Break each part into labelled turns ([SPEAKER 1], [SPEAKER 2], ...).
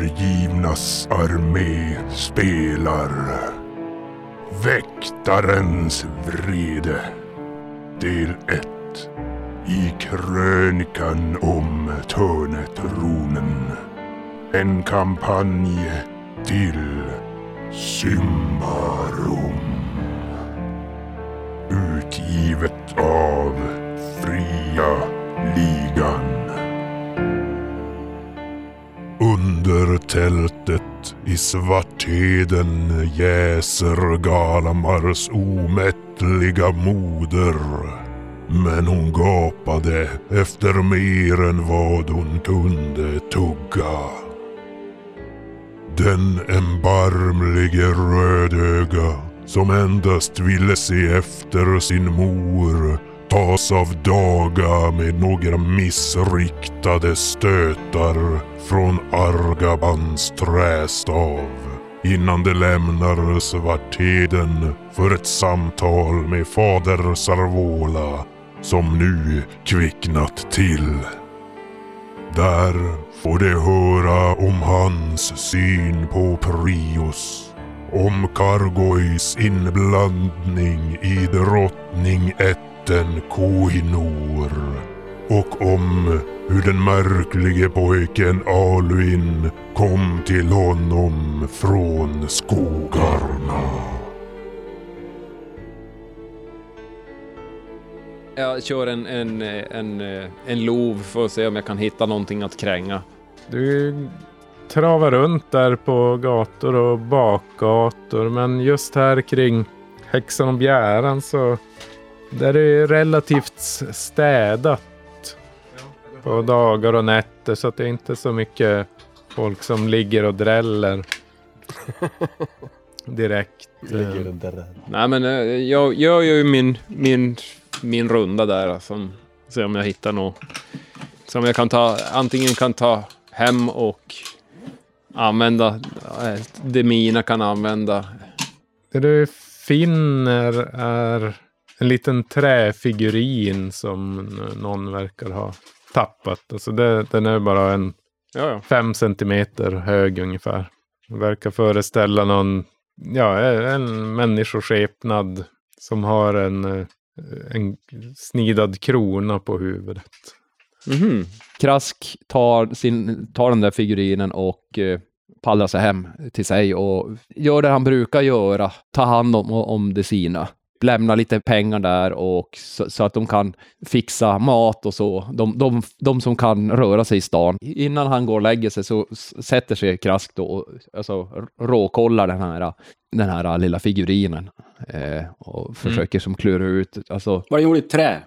[SPEAKER 1] övergivnas armé spelar Väktarens vrede Del 1 I krönikan om Törnetronen En kampanj till Symbarum Utgivet av Fria Ligan under tältet i Svartheden jäser Galamars omättliga moder. Men hon gapade efter mer än vad hon kunde tugga. Den embarmlige Rödöga, som endast ville se efter sin mor, tas av daga med några missriktade stötar från Argabans trästav innan de lämnar Svartheden för ett samtal med fader Sarvola som nu kvicknat till. Där får de höra om hans syn på Prius om Kargois inblandning i drottning ätten Kohinor och om hur den märklige pojken Alvin kom till honom från skogarna.
[SPEAKER 2] Jag kör en, en, en, en lov för att se om jag kan hitta någonting att kränga.
[SPEAKER 3] Du travar runt där på gator och bakgator. Men just här kring Häxan och Bjäran så där är det relativt städat på dagar och nätter. Så att det är inte så mycket folk som ligger och dräller direkt.
[SPEAKER 4] Ligger under den.
[SPEAKER 2] Nej men eh, jag gör ju min, min, min runda där. Alltså, se om jag hittar något som jag kan ta, antingen kan ta hem och använda eh, det mina kan använda.
[SPEAKER 3] Det du finner är en liten träfigurin som någon verkar ha tappat. Alltså det, den är bara en
[SPEAKER 2] Ja, ja.
[SPEAKER 3] fem centimeter hög ungefär. Verkar föreställa någon, ja, en människoskepnad som har en, eh, en snidad krona på huvudet.
[SPEAKER 2] Mhm.
[SPEAKER 5] Krask tar, sin, tar den där figurinen och eh, pallrar sig hem till sig och gör det han brukar göra. Ta hand om, om det sina. Lämna lite pengar där och så, så att de kan fixa mat och så. De, de, de som kan röra sig i stan. Innan han går och lägger sig så s- sätter sig Krask då och alltså, r- råkollar den här, den här lilla figurinen. Eh, och försöker som klura ut, alltså
[SPEAKER 6] Var den gjord i trä?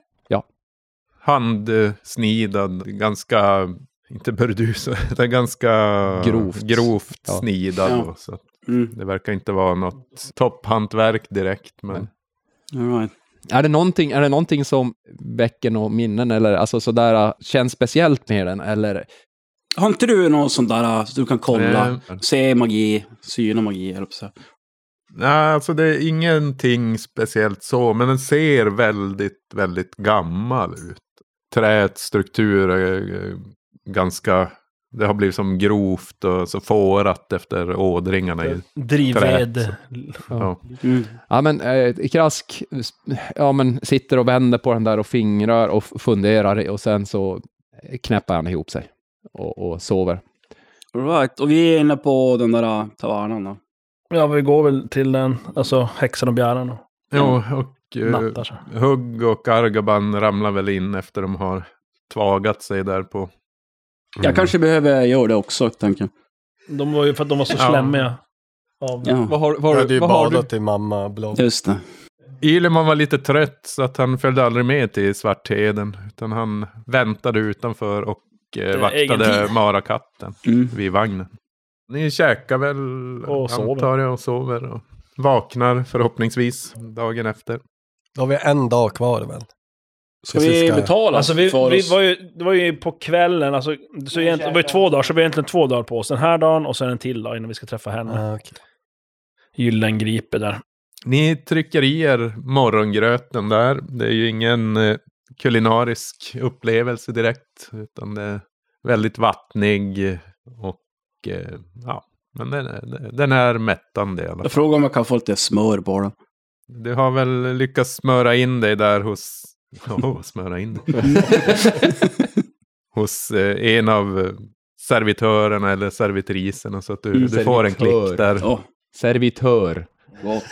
[SPEAKER 3] Handsnidad, ganska, inte burdus, utan ganska
[SPEAKER 5] Grovt.
[SPEAKER 3] grovt
[SPEAKER 5] Ja.
[SPEAKER 3] snidad.
[SPEAKER 6] Ja.
[SPEAKER 3] då, Så att
[SPEAKER 6] Mm.
[SPEAKER 3] det verkar inte vara något topphantverk direkt. Men...
[SPEAKER 5] Nej.
[SPEAKER 6] All right.
[SPEAKER 5] Är det någonting, är det någonting som väcker några minnen eller alltså sådär äh, känns speciellt med den eller?
[SPEAKER 6] Har inte du någon sån där äh, så du kan kolla?
[SPEAKER 3] Eh,
[SPEAKER 6] Se magi, syna magi, eller så.
[SPEAKER 3] Nej, alltså det är ingenting speciellt så, men den ser väldigt, väldigt gammal ut. Träets struktur är eh, ganska, det har blivit som grovt och så fårat efter ådringarna. I,
[SPEAKER 4] Drivved.
[SPEAKER 3] ja.
[SPEAKER 6] Mm.
[SPEAKER 5] Ja men eh, Krask s- ja, men, sitter och vänder på den där och fingrar och f- funderar och sen så knäpper han ihop sig och, och sover.
[SPEAKER 6] All right. Och vi är inne på den där äh, tavernan då.
[SPEAKER 4] Ja, vi går väl till den, alltså häxan och bjäran och
[SPEAKER 3] Jo, och eh,
[SPEAKER 4] nattar sig.
[SPEAKER 3] Hugg och Argaban ramlar väl in efter de har tvagat sig där på.
[SPEAKER 7] Mm.
[SPEAKER 6] Jag kanske behöver göra det också, tänker jag.
[SPEAKER 4] De var ju för att de var så
[SPEAKER 3] Ja.
[SPEAKER 4] slämmiga. Av...
[SPEAKER 6] Ja,
[SPEAKER 2] Vad har,
[SPEAKER 7] Jag
[SPEAKER 2] vad, har
[SPEAKER 7] hade
[SPEAKER 2] du-
[SPEAKER 7] ju
[SPEAKER 2] vad har du?
[SPEAKER 7] badat i mamma blogg.
[SPEAKER 6] just det.
[SPEAKER 3] Ileman var lite trött så att han följde aldrig med till Svartheden. Utan han väntade utanför och eh,
[SPEAKER 4] Eh, egen
[SPEAKER 3] vaktade
[SPEAKER 4] tid.
[SPEAKER 3] marakatten.
[SPEAKER 6] Mm.
[SPEAKER 3] vid vagnen. Ni käkar väl,
[SPEAKER 4] Och sover.
[SPEAKER 3] antar jag, och sover och vaknar förhoppningsvis dagen efter.
[SPEAKER 7] Då har vi en dag kvar väl?
[SPEAKER 6] Ska
[SPEAKER 7] Precis,
[SPEAKER 6] vi
[SPEAKER 7] ska-
[SPEAKER 6] betala
[SPEAKER 4] Alltså vi,
[SPEAKER 6] för
[SPEAKER 4] vi
[SPEAKER 6] oss?
[SPEAKER 4] var ju, det var ju på kvällen, alltså, så egentligen, det var ju två dagar, så vi har egentligen två dagar på oss. Den här dagen och sen en till dag innan vi ska träffa henne.
[SPEAKER 7] Ah, okej.
[SPEAKER 4] Gyllengripe där.
[SPEAKER 3] Ni trycker i er morgongröten där. Det är ju ingen eh, kulinarisk upplevelse direkt, utan det är väldigt vattnig och eh, Och eh, ja, men den, är- den är mättande i alla
[SPEAKER 6] Jag
[SPEAKER 3] fall.
[SPEAKER 6] frågar om jag kan få lite smör
[SPEAKER 7] Mm.
[SPEAKER 6] bara.
[SPEAKER 3] Du har väl lyckats smöra in dig där hos... Oh, smöra in dig. hos eh, en av eh, servitörerna eller servitriserna så att du, du får en klick
[SPEAKER 5] Servitör.
[SPEAKER 3] där.
[SPEAKER 6] Åh,
[SPEAKER 5] Servitör.
[SPEAKER 6] gott.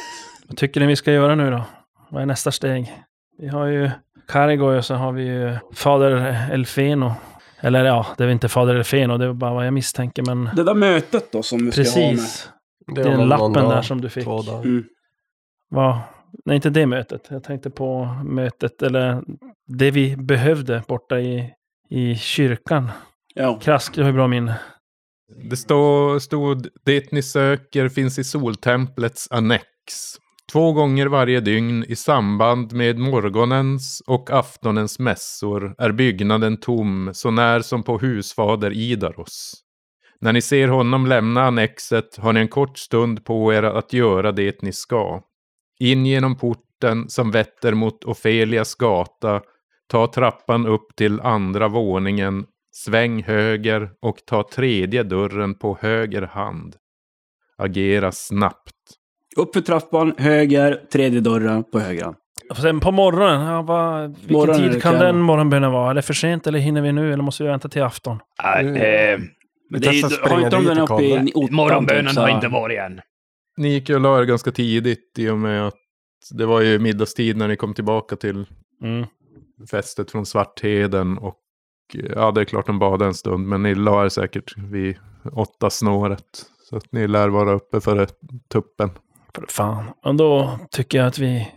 [SPEAKER 4] Vad tycker ni vi ska göra nu då? Vad är nästa steg? Vi har ju Karigoy och så har vi ju Fader Elfeno. Eller ja, det är väl inte Fader Elfeno, det är bara vad jag misstänker, men
[SPEAKER 6] Det där mötet då som vi ska ha med.
[SPEAKER 4] precis.
[SPEAKER 7] Det
[SPEAKER 4] Den
[SPEAKER 7] någon
[SPEAKER 4] lappen
[SPEAKER 7] dag,
[SPEAKER 4] där som du fick.
[SPEAKER 7] Två dagar.
[SPEAKER 6] Mm.
[SPEAKER 4] Vad? Nej, inte det mötet. Jag tänkte på mötet, eller det vi behövde borta i, i kyrkan.
[SPEAKER 6] Ja.
[SPEAKER 4] Krask, du har ju bra minne.
[SPEAKER 3] Det stod, stod det ni söker finns i soltemplets annex. Två gånger varje dygn i samband med morgonens och aftonens mässor är byggnaden tom så när som på husfader Idaros. När ni ser honom lämna annexet har ni en kort stund på er att göra det ni ska. In genom porten som vetter mot Ofelias gata, ta trappan upp till andra våningen Sväng höger och ta tredje dörren på höger hand. Agera snabbt.
[SPEAKER 6] Upp för trappan, höger, tredje dörren på höger.
[SPEAKER 4] Och Sen på morgonen, ja, vad, vilken
[SPEAKER 6] Morgonen är det
[SPEAKER 4] tid kan
[SPEAKER 6] kväll.
[SPEAKER 4] den morgonbönen vara? Är det för sent eller hinner vi nu eller måste vi vänta till afton?
[SPEAKER 6] Men
[SPEAKER 7] Vi
[SPEAKER 6] det är, har
[SPEAKER 7] testar springa
[SPEAKER 6] inte de
[SPEAKER 7] dit
[SPEAKER 6] den
[SPEAKER 7] och
[SPEAKER 6] uppe i
[SPEAKER 7] kolla.
[SPEAKER 6] ottan? typ,
[SPEAKER 8] eh, Morgonbönen
[SPEAKER 6] så
[SPEAKER 8] har
[SPEAKER 6] här?
[SPEAKER 8] inte varit än.
[SPEAKER 3] Ni gick ju och la er ganska tidigt i och med att det var ju middagstid när ni kom tillbaka till
[SPEAKER 4] Mm.
[SPEAKER 3] fästet från Svartheden. Och eh, ja, det är klart de badade en stund, men ni la er säkert vid åtta snåret. Så att ni lär vara uppe före tuppen.
[SPEAKER 4] För fan. Och då tycker jag att vi...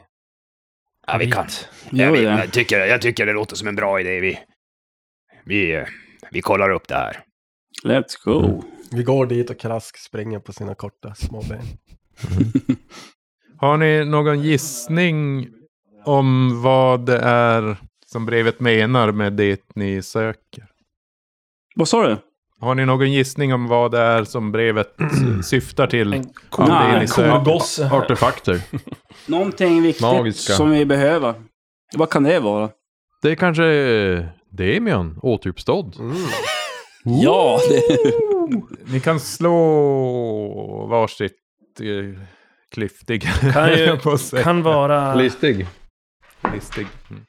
[SPEAKER 8] Ja, vi kan.
[SPEAKER 6] Gör
[SPEAKER 8] Jag,
[SPEAKER 6] vi
[SPEAKER 8] vet,
[SPEAKER 6] det?
[SPEAKER 8] jag, tycker, jag tycker det låter som en bra idé. Vi, vi, eh, vi kollar upp det här.
[SPEAKER 6] Let's go.
[SPEAKER 7] Vi går dit och Krask springer på sina korta små ben.
[SPEAKER 3] Har ni någon gissning om vad det är som brevet menar med det ni söker?
[SPEAKER 6] Vad sa du?
[SPEAKER 3] Har ni någon gissning om vad det är som brevet syftar till?
[SPEAKER 4] En
[SPEAKER 3] Om det är
[SPEAKER 6] Nej,
[SPEAKER 3] ni söker?
[SPEAKER 4] Kogosse.
[SPEAKER 9] Artefakter.
[SPEAKER 6] Någonting viktigt
[SPEAKER 9] Magiska.
[SPEAKER 6] som vi behöver. Vad kan det vara?
[SPEAKER 9] Det är kanske Demion, återuppstådd.
[SPEAKER 7] Mm.
[SPEAKER 6] Ja, det...
[SPEAKER 3] Ni kan slå varsitt eh, klyftig.
[SPEAKER 4] Kan ju-
[SPEAKER 3] höll jag på att säga.
[SPEAKER 4] Kan vara...
[SPEAKER 9] Listig.
[SPEAKER 3] Listig. Mm.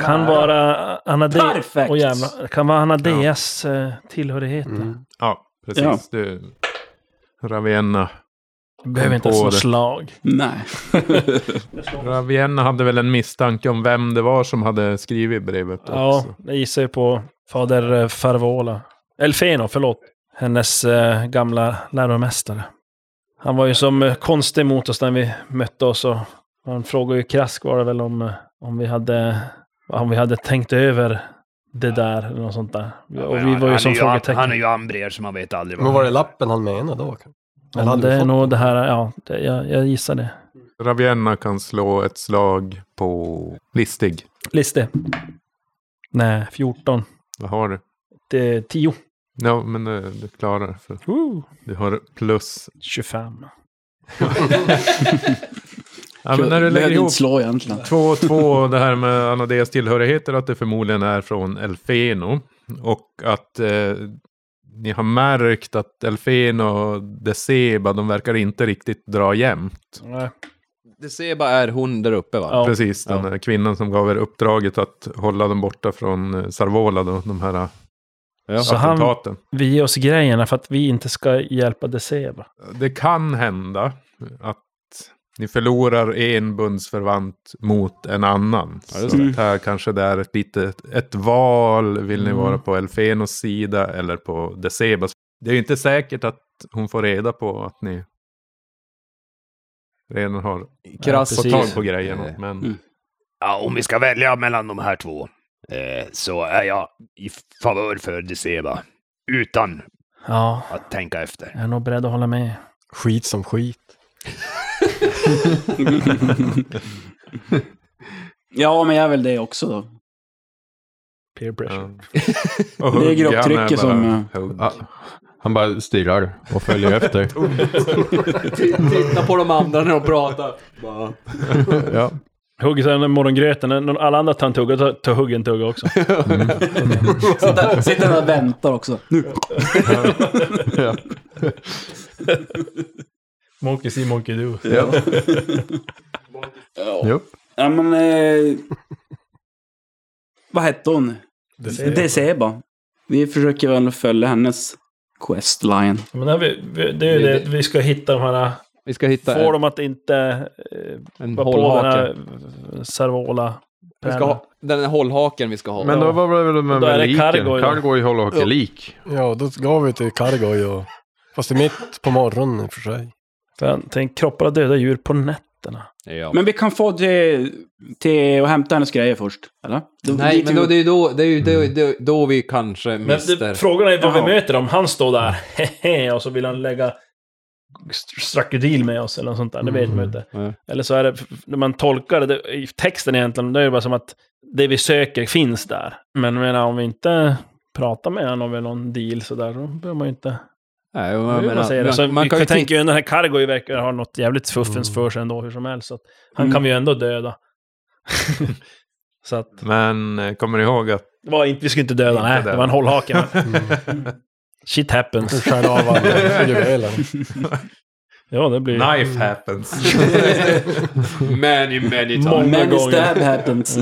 [SPEAKER 4] Kan vara Anade...
[SPEAKER 6] Perfekt!
[SPEAKER 4] Och jävla, kan vara Anadeas eh, tillhörigheter.
[SPEAKER 7] Mm.
[SPEAKER 3] Ja, precis.
[SPEAKER 6] Ja.
[SPEAKER 3] Du, Ravenna.
[SPEAKER 4] Behöver inte
[SPEAKER 3] På
[SPEAKER 4] ens något
[SPEAKER 3] det.
[SPEAKER 4] slag.
[SPEAKER 6] Nej.
[SPEAKER 3] Ravenna hade väl en misstanke om vem det var som hade skrivit brevet
[SPEAKER 4] Ja,
[SPEAKER 3] också.
[SPEAKER 4] jag gissar ju på fader eh, Farvola. Elfeno, förlåt. Hennes eh, gamla läromästare. Han var ju som eh, konstig mot oss när vi mötte oss och han frågade ju krask var det väl om, eh, om, vi hade, om vi hade tänkt över det där eller något sånt där. och vi
[SPEAKER 8] han,
[SPEAKER 4] var ju
[SPEAKER 8] han
[SPEAKER 4] som
[SPEAKER 8] är
[SPEAKER 4] frågetecken.
[SPEAKER 8] Han är ju ambrer så man vet aldrig
[SPEAKER 7] Men
[SPEAKER 8] vad
[SPEAKER 7] var det lappen han menade då? Eller
[SPEAKER 4] Men
[SPEAKER 7] hade
[SPEAKER 4] det
[SPEAKER 7] vi
[SPEAKER 4] är
[SPEAKER 7] fått
[SPEAKER 4] nog det här, ja, det, jag, jag gissar det.
[SPEAKER 3] Ravenna kan slå ett slag på listig.
[SPEAKER 4] Liste. Nej, 14.
[SPEAKER 3] Vad har du?
[SPEAKER 4] Det är 10.
[SPEAKER 3] Ja, men eh, du klarar det, för Du har plus
[SPEAKER 4] 25.
[SPEAKER 3] Ja, men när du lägger
[SPEAKER 6] Behövde
[SPEAKER 3] ihop
[SPEAKER 6] inte slå egentligen.
[SPEAKER 3] 2 och 2, det här med Anadeas tillhörigheter, att det förmodligen är från Elfeno. Och att eh, ni har märkt att Elfeno och Deceba, de verkar inte riktigt dra jämnt.
[SPEAKER 4] Nej.
[SPEAKER 5] Det ser bara är hon där uppe va?
[SPEAKER 4] Ja.
[SPEAKER 3] Precis, den här kvinnan som gav er uppdraget att hålla dem borta från eh, Sarvola, då, de här eh,
[SPEAKER 5] Ja.
[SPEAKER 4] Så han-
[SPEAKER 3] attentaten.
[SPEAKER 4] vi ger oss grejerna för att vi inte ska hjälpa Deceva.
[SPEAKER 3] Det kan hända att ni förlorar en bundsförvant mot en annan.
[SPEAKER 5] Ja, det är
[SPEAKER 3] så
[SPEAKER 6] sant.
[SPEAKER 3] att här kanske det är ett litet ett val. Vill ni
[SPEAKER 4] Mm.
[SPEAKER 3] vara på Elfenos sida eller på Decebas? Det är ju inte säkert att hon får reda på att ni redan har
[SPEAKER 5] Krass.
[SPEAKER 3] fått tag på grejerna.
[SPEAKER 5] Eh,
[SPEAKER 3] Men
[SPEAKER 6] Mm.
[SPEAKER 8] Ja, om vi ska välja mellan de här två eh, så är jag i favör för Deceba. Utan
[SPEAKER 4] Ja,
[SPEAKER 8] att tänka efter.
[SPEAKER 4] jag är nog beredd att hålla med.
[SPEAKER 7] Skit som skit.
[SPEAKER 6] ja, men jag är väl det också då.
[SPEAKER 4] Peer pressure.
[SPEAKER 3] ja. Och
[SPEAKER 6] Det är
[SPEAKER 3] hugg, han
[SPEAKER 6] grupptrycket
[SPEAKER 3] bara
[SPEAKER 6] som, eh,
[SPEAKER 3] hugg.
[SPEAKER 9] Ah, han bara stirrar och följer efter.
[SPEAKER 5] Titta på de andra när de pratar.
[SPEAKER 9] ja.
[SPEAKER 4] Hugger sen den morgongröten, när någon- alla andra tar en tugga, tar, tar huggen en tugga också.
[SPEAKER 6] Sitter, sitter där och väntar också. Nu.
[SPEAKER 4] Monkey see, monkey do.
[SPEAKER 9] Ja.
[SPEAKER 6] Ja.
[SPEAKER 9] Jo.
[SPEAKER 6] ja men... Eh, vad hette hon? Deceba. Vi försöker väl följa hennes questline.
[SPEAKER 4] Men här, vi, vi, det är ju det, vi ska hitta de här... eh,
[SPEAKER 5] Vi ska hitta
[SPEAKER 4] Få
[SPEAKER 5] en,
[SPEAKER 4] dem att inte eh,
[SPEAKER 5] en
[SPEAKER 4] vara på den
[SPEAKER 5] hållhake.
[SPEAKER 4] här servola
[SPEAKER 5] Vi ska ha, den här hållhaken vi ska ha.
[SPEAKER 9] Men då var det väl med,
[SPEAKER 4] Då är
[SPEAKER 9] med
[SPEAKER 4] det
[SPEAKER 9] liken?
[SPEAKER 4] Kargoy då.
[SPEAKER 9] Kargoy håller och hacker lik.
[SPEAKER 7] Ja, då gav vi till Kargoy och... Fast det är mitt på morgonen i och för sig.
[SPEAKER 4] Fan, Tänk kroppar av döda djur på nätterna.
[SPEAKER 5] ja.
[SPEAKER 6] Men vi kan få till, till att hämta hennes grejer först. Eller? Då-
[SPEAKER 5] Nej,
[SPEAKER 6] dit
[SPEAKER 5] men
[SPEAKER 6] vi-
[SPEAKER 5] då, det är ju då, det är ju då, då, då vi kanske
[SPEAKER 4] Men
[SPEAKER 5] mister...
[SPEAKER 4] det, frågan är vad vi
[SPEAKER 6] Jaha.
[SPEAKER 4] möter dem. Han står där, hehe, och så vill han lägga st- strakodil med oss eller något sånt där. Det vet man ju inte.
[SPEAKER 5] Mm, Nej.
[SPEAKER 4] Eller så är det, när man tolkar det, det, i texten egentligen, det är det bara som att det vi söker finns där. Men jag menar, om vi inte pratar med honom om någon deal sådär, då behöver man ju inte...
[SPEAKER 5] Nej, jag
[SPEAKER 4] Jag
[SPEAKER 5] menar,
[SPEAKER 4] man, säger det. Så
[SPEAKER 5] man, man kan
[SPEAKER 4] kan
[SPEAKER 5] ju Mm.
[SPEAKER 4] tänka
[SPEAKER 5] tänka...
[SPEAKER 4] ju den här Cargo verkar ha något jävligt fuffens för sig ändå, hur som helst. Så att han
[SPEAKER 6] Mm.
[SPEAKER 4] kan vi ju ändå döda. så att,
[SPEAKER 9] Men eh, kommer ni ihåg att...
[SPEAKER 4] det var inte, vi skulle inte döda, nej,
[SPEAKER 9] döda.
[SPEAKER 4] det var en hållhake. men-
[SPEAKER 8] Mm.
[SPEAKER 4] Shit happens.
[SPEAKER 7] Skär av alla juveler.
[SPEAKER 4] Ja, det blir...
[SPEAKER 9] Knife happens.
[SPEAKER 5] Many, many
[SPEAKER 4] Många
[SPEAKER 6] Many
[SPEAKER 4] gånger.
[SPEAKER 6] stab happens.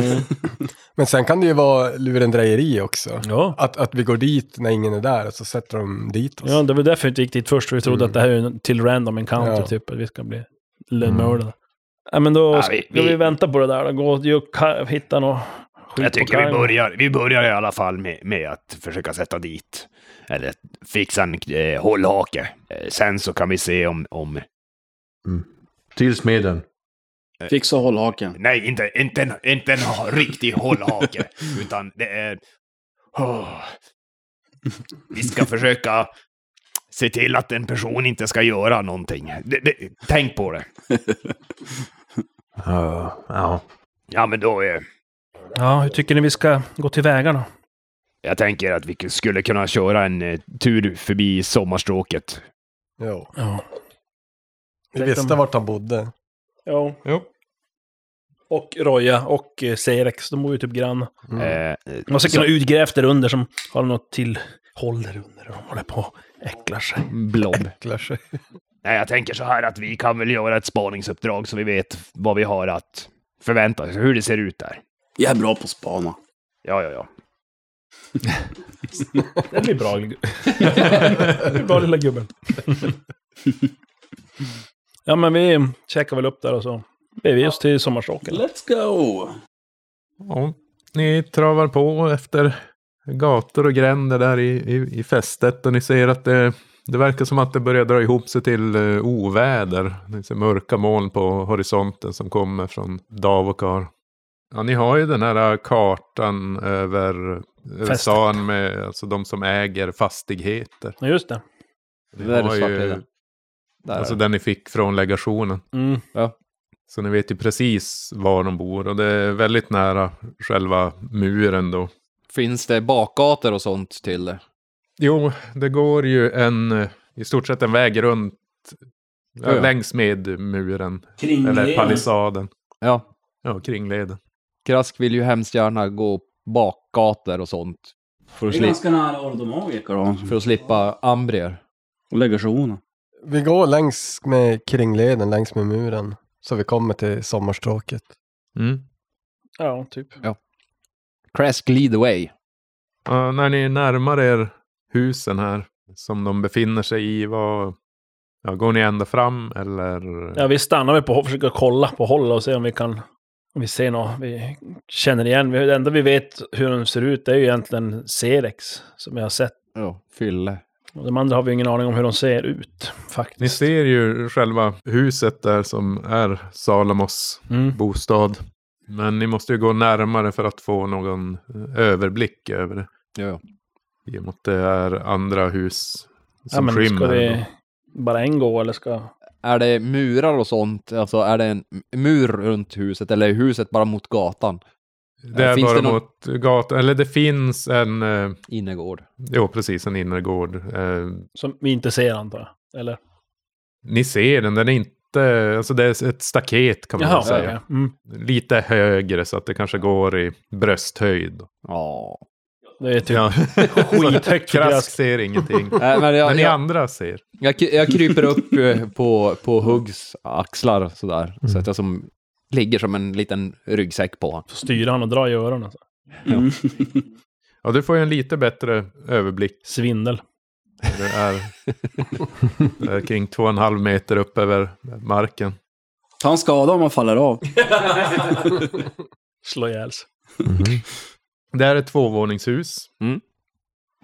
[SPEAKER 7] Men sen kan det ju vara lurendrejeri också.
[SPEAKER 4] Ja.
[SPEAKER 7] Att, att vi går dit när ingen är där och så sätter de dit oss.
[SPEAKER 4] ja, det var därför vi inte gick dit först. för Vi trodde
[SPEAKER 7] Mm.
[SPEAKER 4] att det här är en- till random encounter,
[SPEAKER 7] Ja.
[SPEAKER 4] typ. Att vi ska bli lönnmördade. Ja, men då
[SPEAKER 8] Mm. Ja,
[SPEAKER 4] ska
[SPEAKER 8] vi-
[SPEAKER 4] vi,
[SPEAKER 8] vi-
[SPEAKER 4] vänta på det där. Då. Gå och ju- ka- hitta något skit
[SPEAKER 8] Jag
[SPEAKER 4] på
[SPEAKER 8] tycker vi
[SPEAKER 4] Cargo.
[SPEAKER 8] börjar, vi börjar i alla fall med, med att försöka sätta dit, eller fixa en eh, hållhake. Eh, sen så kan vi se om, om
[SPEAKER 9] Till smeden.
[SPEAKER 6] Fixa hållhaken.
[SPEAKER 8] nej, inte, inte, en, inte en ha- riktig hållhake, utan det är... Åh. vi ska försöka se till att en person inte ska göra någonting. Det, det, tänk på det.
[SPEAKER 9] Ja, ja.
[SPEAKER 8] Ja, men då... Eh,
[SPEAKER 4] Ja, hur tycker ni vi ska gå tillväga då?
[SPEAKER 8] jag tänker att vi skulle kunna köra en eh, tur förbi sommarstråket.
[SPEAKER 7] Jo.
[SPEAKER 4] Ja.
[SPEAKER 7] Vi
[SPEAKER 4] Tänk
[SPEAKER 7] visste
[SPEAKER 4] om-
[SPEAKER 7] vart han bodde.
[SPEAKER 4] Ja.
[SPEAKER 9] Jo.
[SPEAKER 4] Och Roja och eh, Serex, de bor ju typ grann.
[SPEAKER 8] Eh, eh,
[SPEAKER 4] Man ska
[SPEAKER 8] så-
[SPEAKER 4] kunna utgrävt där under som har något till håll där under. De håller på och äcklar sig.
[SPEAKER 5] Blob.
[SPEAKER 7] Klär sig.
[SPEAKER 8] Nej, jag tänker så här att vi kan väl göra ett spaningsuppdrag så vi vet vad vi har att förvänta oss, hur det ser ut där.
[SPEAKER 6] Jag är bra på att spana.
[SPEAKER 8] Ja, ja, ja.
[SPEAKER 4] Det blir bra. det blir bra lilla gubben. ja, men vi checkar väl upp där och så beger vi oss till sommarstråken.
[SPEAKER 6] Let's go!
[SPEAKER 3] Ja, ni travar på efter gator och gränder där i, i, i fästet och ni ser att det, det verkar som att det börjar dra ihop sig till eh, oväder. Ni ser mörka moln på horisonten som kommer från Davokar. Ja, ni har ju den här eh, kartan över, över
[SPEAKER 4] Fästet.
[SPEAKER 3] stan med alltså de som äger fastigheter.
[SPEAKER 4] Ja, just det.
[SPEAKER 3] Ni
[SPEAKER 5] Där är
[SPEAKER 3] har ju,
[SPEAKER 5] svartleden. Där.
[SPEAKER 3] alltså den ni fick från legationen.
[SPEAKER 4] Mm.
[SPEAKER 3] Så ni vet ju precis var de bor och det är väldigt nära själva muren då.
[SPEAKER 5] Finns det bakgator och sånt till det?
[SPEAKER 3] Jo, det går ju en, eh, i stort sett en väg runt, ja,
[SPEAKER 5] Ja, ja.
[SPEAKER 3] längs med muren, eller
[SPEAKER 6] Kringleden.
[SPEAKER 3] palissaden.
[SPEAKER 5] Ja.
[SPEAKER 3] Ja, kringleden.
[SPEAKER 5] Krask vill ju hemskt gärna gå bakgator och sånt. För att,
[SPEAKER 6] Det är
[SPEAKER 5] sli-
[SPEAKER 6] ganska nära Ordomagica då.
[SPEAKER 5] för att slippa ambrier.
[SPEAKER 6] Och legationen.
[SPEAKER 7] Vi går längs med kringleden, längs med muren. Så vi kommer till sommarstråket.
[SPEAKER 3] Mm.
[SPEAKER 4] Ja, typ.
[SPEAKER 5] Krask lead away.
[SPEAKER 3] Ja, när ni närmar er husen här, som de befinner sig i, vad, ja, går ni ända fram eller?
[SPEAKER 4] Ja, vi stannar väl på och försöker kolla på håll och se om vi kan... Om vi ser något vi känner igen. Vi- Det enda vi vet hur den ser ut det är ju egentligen Serex som jag har sett.
[SPEAKER 5] Ja, fylle.
[SPEAKER 4] Och de andra har vi ju ingen aning om hur de ser ut,
[SPEAKER 3] Ni
[SPEAKER 4] faktiskt.
[SPEAKER 3] ser ju själva huset där som är Salomos
[SPEAKER 4] Mm.
[SPEAKER 3] bostad. Men ni måste ju gå närmare för att få någon eh, överblick över det.
[SPEAKER 5] Ja, ja.
[SPEAKER 3] I och med att det är andra hus
[SPEAKER 4] Ja,
[SPEAKER 3] som
[SPEAKER 4] men ska
[SPEAKER 3] skymmer.
[SPEAKER 4] vi bara en gå eller ska...
[SPEAKER 5] Är det murar och sånt? Alltså är det en mur runt huset eller är huset bara mot gatan?
[SPEAKER 3] Det är
[SPEAKER 5] Finns
[SPEAKER 3] bara
[SPEAKER 5] det någon-
[SPEAKER 3] mot gatan, eller det finns en, eh,
[SPEAKER 5] Innergård.
[SPEAKER 3] jo precis, en innergård. Eh,
[SPEAKER 4] Som vi inte ser antar jag. Eller?
[SPEAKER 3] ni ser den, den är inte lite, alltså det är ett staket kan man
[SPEAKER 4] Jaha,
[SPEAKER 3] väl säga.
[SPEAKER 4] okej. mm.
[SPEAKER 3] Lite högre så att det kanske går i brösthöjd.
[SPEAKER 5] Ja.
[SPEAKER 4] Det är typ
[SPEAKER 3] Ja.
[SPEAKER 4] skithögt för
[SPEAKER 3] Krask
[SPEAKER 4] deras...
[SPEAKER 3] ser ingenting.
[SPEAKER 5] Nej, Äh, men jag,
[SPEAKER 3] Men ni
[SPEAKER 5] jag,
[SPEAKER 3] andra ser.
[SPEAKER 5] jag, kry- jag kryper upp eh, på, på Huggs axlar sådär.
[SPEAKER 3] Mm.
[SPEAKER 5] Så att jag som ligger som en liten ryggsäck på honom.
[SPEAKER 4] Får styra han och dra i öronen. alltså.
[SPEAKER 6] Mm.
[SPEAKER 3] Ja, du får ju en lite bättre överblick.
[SPEAKER 4] Svindel.
[SPEAKER 3] Det är, det är kring två och en halv meter upp över marken.
[SPEAKER 6] Ta en skada om man faller av.
[SPEAKER 4] Slå ihjäl sig.
[SPEAKER 9] Mhm.
[SPEAKER 3] Det här är ett tvåvåningshus.
[SPEAKER 5] Mm.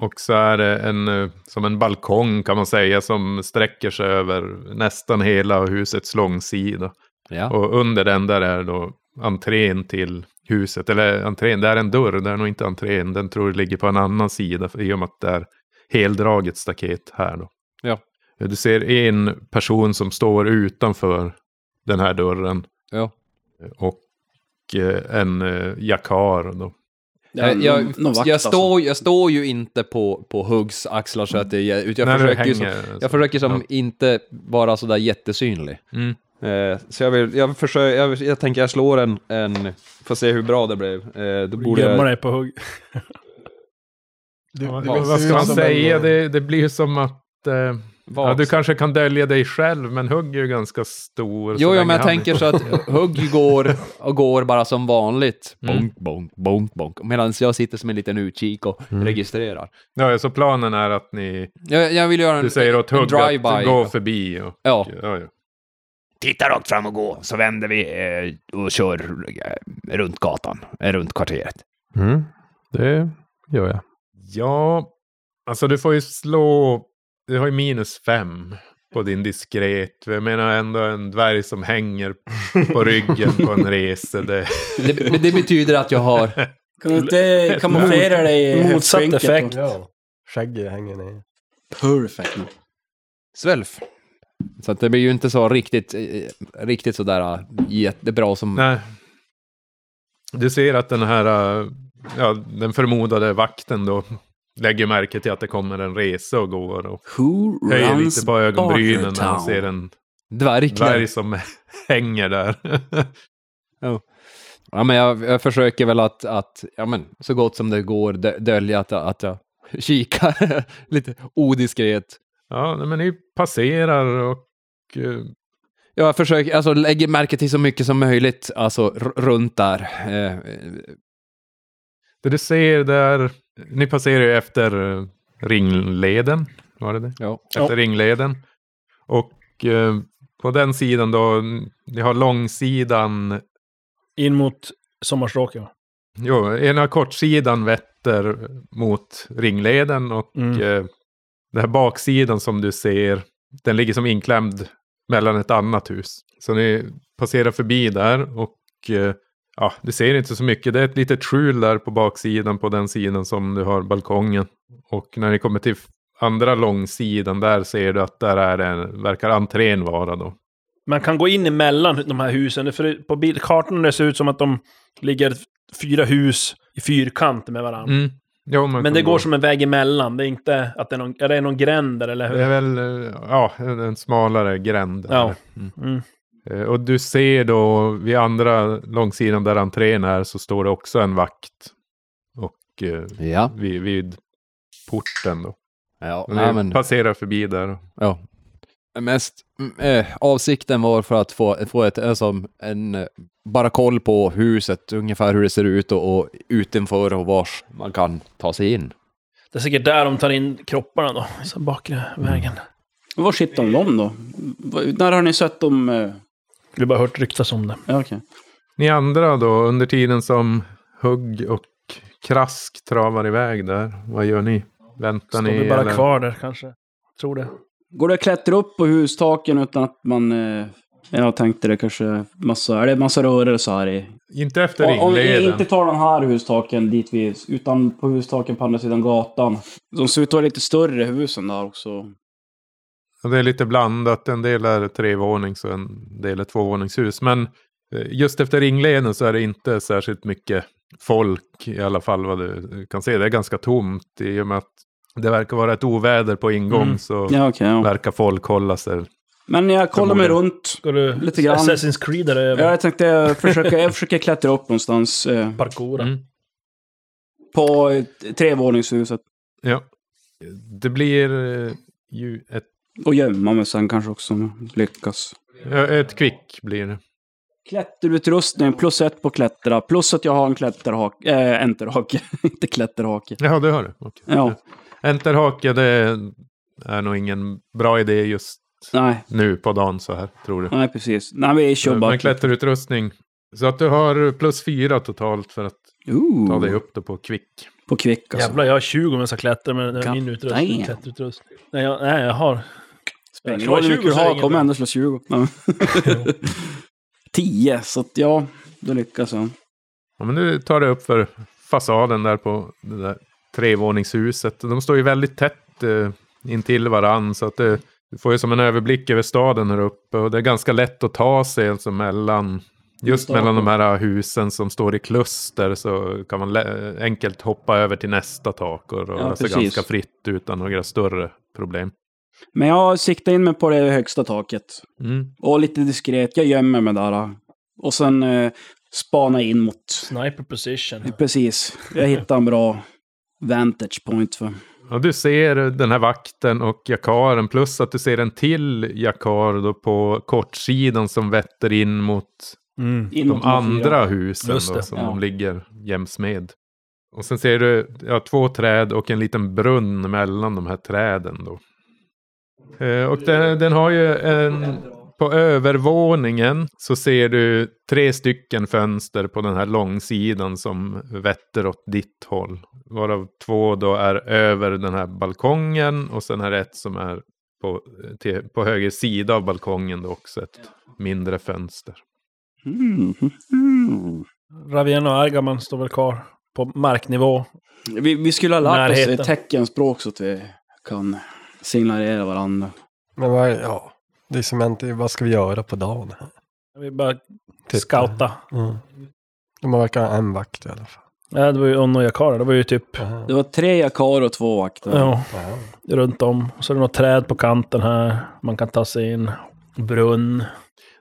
[SPEAKER 3] Och så är det en, eh, som en balkong kan man säga som sträcker sig över nästan hela husets långsida.
[SPEAKER 5] Ja.
[SPEAKER 3] Och under den där är då entrén till huset. Eller eh, entrén, det är en dörr, det är nog inte entrén. Den tror jag ligger på en annan sida för- i och med att det är heldraget staket här då. Eh,
[SPEAKER 5] Ja.
[SPEAKER 3] Du ser en person som står utanför den här dörren.
[SPEAKER 5] Ja.
[SPEAKER 3] Och eh, en eh, jakar då.
[SPEAKER 6] Det är
[SPEAKER 5] Jag, Eh, jag,
[SPEAKER 6] någon vakt,
[SPEAKER 5] jag,
[SPEAKER 6] alltså.
[SPEAKER 5] står, jag står ju inte på, på Huggs axlar så att det är... ut- Jag
[SPEAKER 3] Nej, du
[SPEAKER 5] försöker ju som,
[SPEAKER 3] hänger-
[SPEAKER 5] jag försöker som
[SPEAKER 3] Ja.
[SPEAKER 5] inte vara sådär jättesynlig.
[SPEAKER 3] Mm.
[SPEAKER 5] Eh, så jag, vill, jag, försöker, jag, jag tänker jag slår en, en... Får se hur bra det blev. Eh, då borde
[SPEAKER 4] Gömma
[SPEAKER 5] jag...
[SPEAKER 4] dig på hugg.
[SPEAKER 7] Du,
[SPEAKER 3] Ja,
[SPEAKER 7] du
[SPEAKER 3] vad-
[SPEAKER 7] ser
[SPEAKER 3] vad
[SPEAKER 7] ut
[SPEAKER 3] ska man
[SPEAKER 7] som
[SPEAKER 3] säga?
[SPEAKER 7] en-
[SPEAKER 3] Det, det blir ju som att... Eh, ja, du kanske kan dölja dig själv, men Hugg är ju ganska stor. så
[SPEAKER 5] Jo, jo,
[SPEAKER 3] länge
[SPEAKER 5] men jag
[SPEAKER 3] han är-
[SPEAKER 5] tänker så att Hugg går och går bara som vanligt.
[SPEAKER 3] Mm.
[SPEAKER 5] Bonk, bonk, bonk, bonk. Medan jag sitter som en liten utkik och
[SPEAKER 3] Mm.
[SPEAKER 5] registrerar.
[SPEAKER 3] Ja, så planen är att ni...
[SPEAKER 5] Jag, jag vill göra en,
[SPEAKER 3] Du säger åt
[SPEAKER 5] en
[SPEAKER 3] Hugg att
[SPEAKER 5] drive-by.
[SPEAKER 3] gå förbi. Och,
[SPEAKER 5] Ja,
[SPEAKER 3] ja, ja.
[SPEAKER 8] Titta rakt fram och gå, så vänder vi eh, och kör eh, runt gatan, eh, runt kvarteret.
[SPEAKER 9] Mm. Det gör jag.
[SPEAKER 3] ja, alltså du får ju slå... Du har ju minus fem på din diskret. Jag menar ändå en dvärg som hänger på ryggen på en resa. Det,
[SPEAKER 5] det, men det betyder att jag har...
[SPEAKER 6] Kan du inte kamouflera dig i
[SPEAKER 4] Motsatt
[SPEAKER 6] höftskynket?
[SPEAKER 4] effekt.
[SPEAKER 7] Ja. Skägget hänger ner.
[SPEAKER 6] Perfect.
[SPEAKER 5] Svälf. Så att det blir ju inte så riktigt, eh, riktigt sådär eh, jättebra som...
[SPEAKER 3] nej. Du ser att den här... eh, Ja, den förmodade vakten då lägger märke till att det kommer en resa och går. Och
[SPEAKER 6] Who
[SPEAKER 3] höjer
[SPEAKER 6] runs
[SPEAKER 3] lite på ögonbrynen när han
[SPEAKER 6] Bartertown?
[SPEAKER 3] ser en
[SPEAKER 5] Dvärgklädd.
[SPEAKER 3] dvärg som hänger där.
[SPEAKER 5] Ja, men jag, jag försöker väl att, att, ja men så gott som det går dö- dölja att, jag- att jag kikar lite odiskret.
[SPEAKER 3] ja, nej, men ni passerar och... eh,
[SPEAKER 5] Jag försöker, alltså lägger märke till så mycket som möjligt, alltså r- runt där. Eh, eh,
[SPEAKER 3] Det du ser där... Ni passerar ju efter eh, ringleden. Var det det?
[SPEAKER 5] ja.
[SPEAKER 3] Efter ringleden. Och eh, på den sidan då, n- ni har långsidan...
[SPEAKER 4] In mot sommarstråken. va?
[SPEAKER 3] Jo, ena kortsidan vetter mot ringleden och
[SPEAKER 4] Mm.
[SPEAKER 3] eh, den här baksidan som du ser, den ligger som inklämd mellan ett annat hus. Så ni passerar förbi där och eh, ja, du ser inte så mycket. Det är ett litet skjul där på baksidan på den sidan som du har balkongen. Och när ni kommer till f- andra långsidan där ser du att där är en, verkar entrén vara då.
[SPEAKER 4] Man kan gå in emellan de här husen. För på bildkartan det ser ut som att de ligger fyra hus i fyrkant med varandra.
[SPEAKER 3] Mm. Jo, man
[SPEAKER 4] Men
[SPEAKER 3] kan
[SPEAKER 4] det
[SPEAKER 3] gå.
[SPEAKER 4] går som en väg emellan. Det är inte att det är någon, är det någon gränd där eller hur?
[SPEAKER 3] Det är väl eh, ja, en en smalare gränd. där.
[SPEAKER 4] Ja.
[SPEAKER 3] Mm.
[SPEAKER 4] Mm.
[SPEAKER 3] Eh, Och du ser då vid andra långsidan där entrén är så står det också en vakt. Och eh,
[SPEAKER 5] Ja,
[SPEAKER 3] vid, vid porten då.
[SPEAKER 5] ja,
[SPEAKER 3] Och
[SPEAKER 5] ja,
[SPEAKER 3] ni
[SPEAKER 5] men,
[SPEAKER 3] passerar förbi där.
[SPEAKER 5] ja. Mest, mm, eh, avsikten var för att få, få ett, eh, som en, eh, bara koll på huset, ungefär hur det ser ut och, och utanför och vars man kan ta sig in.
[SPEAKER 4] Det är säkert där de tar in kropparna då. Så bakre vägen.
[SPEAKER 6] Men Var sitter de dem då? Vad- När har ni sett dem? eh,
[SPEAKER 4] Vi har bara hört ryktas om det.
[SPEAKER 6] Ja, okej.
[SPEAKER 3] Ni andra då, under tiden som Hugg och Krask travar iväg där, vad gör ni? Väntar
[SPEAKER 4] Står
[SPEAKER 3] ni?
[SPEAKER 4] vi bara
[SPEAKER 3] eller?
[SPEAKER 4] kvar där kanske? Tror det.
[SPEAKER 6] Går det att klättra upp på hustaken utan att man... eh, Jag tänkte det kanske massa... Är det massa rörelse här i?
[SPEAKER 3] Inte efter
[SPEAKER 6] Om om vi
[SPEAKER 3] ringleden.
[SPEAKER 6] inte tar den här hustaken dit vi... Utan på hustaken på andra sidan gatan. De ser ut att vara lite större husen där också.
[SPEAKER 3] Och Det är lite blandat. En del är trevånings och en del är tvåvåningshus. Men eh, just efter ringleden så är det inte särskilt mycket folk i alla fall vad du kan se. Det är ganska tomt i och med att det verkar vara ett oväder på ingång
[SPEAKER 4] Mm.
[SPEAKER 3] så
[SPEAKER 6] Ja, okej. ja.
[SPEAKER 3] verkar folk hålla sig
[SPEAKER 6] Men jag kollar mig
[SPEAKER 9] Förmodligen.
[SPEAKER 6] runt
[SPEAKER 4] Ska du
[SPEAKER 6] lite grann.
[SPEAKER 4] Assassin's Creed där över?
[SPEAKER 6] Ja, jag tänkte jag försöker, jag försöker klättra upp någonstans eh,
[SPEAKER 4] Parkoura.
[SPEAKER 9] Mm.
[SPEAKER 6] på ett- trevåningshuset.
[SPEAKER 3] Ja. Det blir eh, ju ett,
[SPEAKER 6] Och gömma mig sen kanske också om jag lyckas.
[SPEAKER 3] ja, ett kvick blir det.
[SPEAKER 6] Klätterutrustning, plus ett på klättra, plus att jag har en klätterhake, eh, enterhake, inte klätterhake.
[SPEAKER 3] Ja, det har du. Okej.
[SPEAKER 6] Ja,
[SPEAKER 3] Enterhake, det är nog ingen bra idé just
[SPEAKER 6] nej,
[SPEAKER 3] nu på dagen så här, tror du.
[SPEAKER 6] nej precis. Nej, vi kör bara. typ.
[SPEAKER 3] Men klätterutrustning. Så att du har plus fyra totalt för att ta dig
[SPEAKER 6] Ooh,
[SPEAKER 3] upp då på kvick.
[SPEAKER 6] på kvick alltså.
[SPEAKER 4] Jävlar, jag har 20 om jag ska klättra med den-
[SPEAKER 6] God
[SPEAKER 4] min utrustning.
[SPEAKER 6] damn.
[SPEAKER 4] Klätterutrustning. Nej, jag, nej, jag har...
[SPEAKER 6] Spelar ingen
[SPEAKER 4] Jag
[SPEAKER 6] roll hur
[SPEAKER 4] slår
[SPEAKER 6] mycket du
[SPEAKER 4] 20 så är det
[SPEAKER 6] har,
[SPEAKER 4] ingen
[SPEAKER 6] kommer
[SPEAKER 4] bra.
[SPEAKER 6] ändå slå 20. Ja. 10, så att ja, då lyckas jag.
[SPEAKER 3] Ja, men nu tar du upp för fasaden där på det där trevåningshuset. De står ju väldigt tätt eh, intill varann så att det, du får ju som en överblick över staden här uppe och det är ganska lätt att ta sig alltså mellan just mellan de här eh, husen som står i kluster så kan man lä- eh, enkelt hoppa över till nästa tak och röra sig
[SPEAKER 6] precis.
[SPEAKER 3] ganska fritt utan några större problem.
[SPEAKER 6] Men jag siktar in mig på det högsta taket.
[SPEAKER 3] Mm.
[SPEAKER 6] Och lite diskret, jag gömmer mig där. då. Och sen eh, spana in mot...
[SPEAKER 4] Sniper position.
[SPEAKER 6] Precis, jag hittar en bra vantage point för...
[SPEAKER 3] Ja, du ser den här vakten och jakaren plus att du ser en till jakar då på kortsidan som vetter in mot
[SPEAKER 4] Mm.
[SPEAKER 6] In
[SPEAKER 3] de
[SPEAKER 6] mot nummer fyra.
[SPEAKER 3] andra husen
[SPEAKER 4] Just
[SPEAKER 3] då,
[SPEAKER 4] det,
[SPEAKER 3] som
[SPEAKER 6] ja.
[SPEAKER 3] de ligger jäms med. Och sen ser du ja, två träd och en liten brunn mellan de här träden då. Eh, och den, den har ju en... På övervåningen så ser du tre stycken fönster på den här långsidan som vetter åt ditt håll. Varav två då är över den här balkongen och sen är det ett som är på, till, på höger sida av balkongen då också ett mindre fönster.
[SPEAKER 6] Mm. Mm.
[SPEAKER 4] Raviano och Argaman står väl kvar på marknivå.
[SPEAKER 6] Vi, vi skulle ha lärt oss
[SPEAKER 4] Närheten.
[SPEAKER 6] oss teckenspråk så att vi kan signalera varandra.
[SPEAKER 7] Men vad, ja. Det är som inte, vad ska vi göra på dagen? här?
[SPEAKER 4] Vi bara
[SPEAKER 7] Titta.
[SPEAKER 4] scouta.
[SPEAKER 7] Mm. De verkar ha en vakt i alla fall.
[SPEAKER 4] Ja, det var ju Onno och Jakara. Det var ju typ
[SPEAKER 7] Jaha.
[SPEAKER 6] Det var tre jakar och två vakter.
[SPEAKER 4] ja,
[SPEAKER 7] Ja.
[SPEAKER 4] runt om. Så är det något träd på kanten här. Man kan ta sig in. Brunn.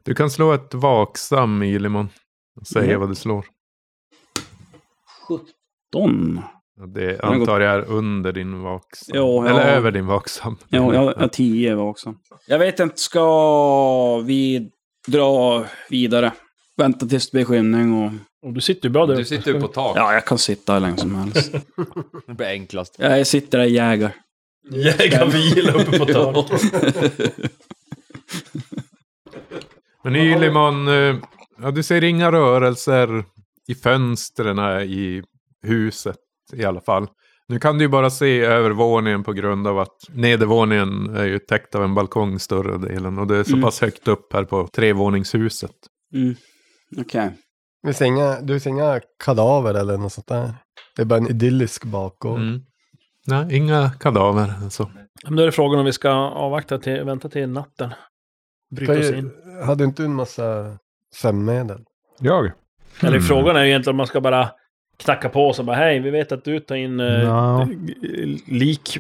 [SPEAKER 3] Du kan slå ett vaksam Ylimon. Och säga
[SPEAKER 6] Mm.
[SPEAKER 3] vad du slår.
[SPEAKER 6] Don.
[SPEAKER 3] Det
[SPEAKER 6] Den har
[SPEAKER 3] antar jag är under din vaksam.
[SPEAKER 6] Ja, ja.
[SPEAKER 3] Eller över din vaksam.
[SPEAKER 6] Ja, jag, jag tio var också. Mm. Jag vet inte, ska vi dra vidare? Vänta tills det blir skymning och...
[SPEAKER 4] Och du sitter ju bra där
[SPEAKER 5] Du sitter ju på tak.
[SPEAKER 6] Ja, jag kan sitta hur länge som helst.
[SPEAKER 5] Det blir enklast.
[SPEAKER 6] Ja, Jag sitter där i jägar.
[SPEAKER 4] Jägarvila uppe på tak.
[SPEAKER 3] Men Ylimon, eh, ja, du ser inga rörelser i fönstren här i huset i alla fall. Nu kan du ju bara se övervåningen på grund av att nedervåningen är ju täckt av en balkong större delen. Och det är så
[SPEAKER 6] Mm.
[SPEAKER 3] pass högt upp här på trevåningshuset.
[SPEAKER 6] Mm. Okej.
[SPEAKER 7] Vi ser inga, du ser inga kadaver eller något sånt där? Det är bara en idyllisk bakgård.
[SPEAKER 3] Mm. Nej, inga kadaver. Alltså.
[SPEAKER 4] Men då är det frågan om vi ska avvakta till, vänta till natten. Bryta
[SPEAKER 7] Kan
[SPEAKER 4] oss
[SPEAKER 7] ju-
[SPEAKER 4] in.
[SPEAKER 7] Hade inte du en massa sömnmedel?
[SPEAKER 9] Jag?
[SPEAKER 7] Mm.
[SPEAKER 4] Eller frågan är ju egentligen om man ska bara knacka på och bara hej, vi vet att du tar in eh,
[SPEAKER 9] Ja.
[SPEAKER 4] g- lik,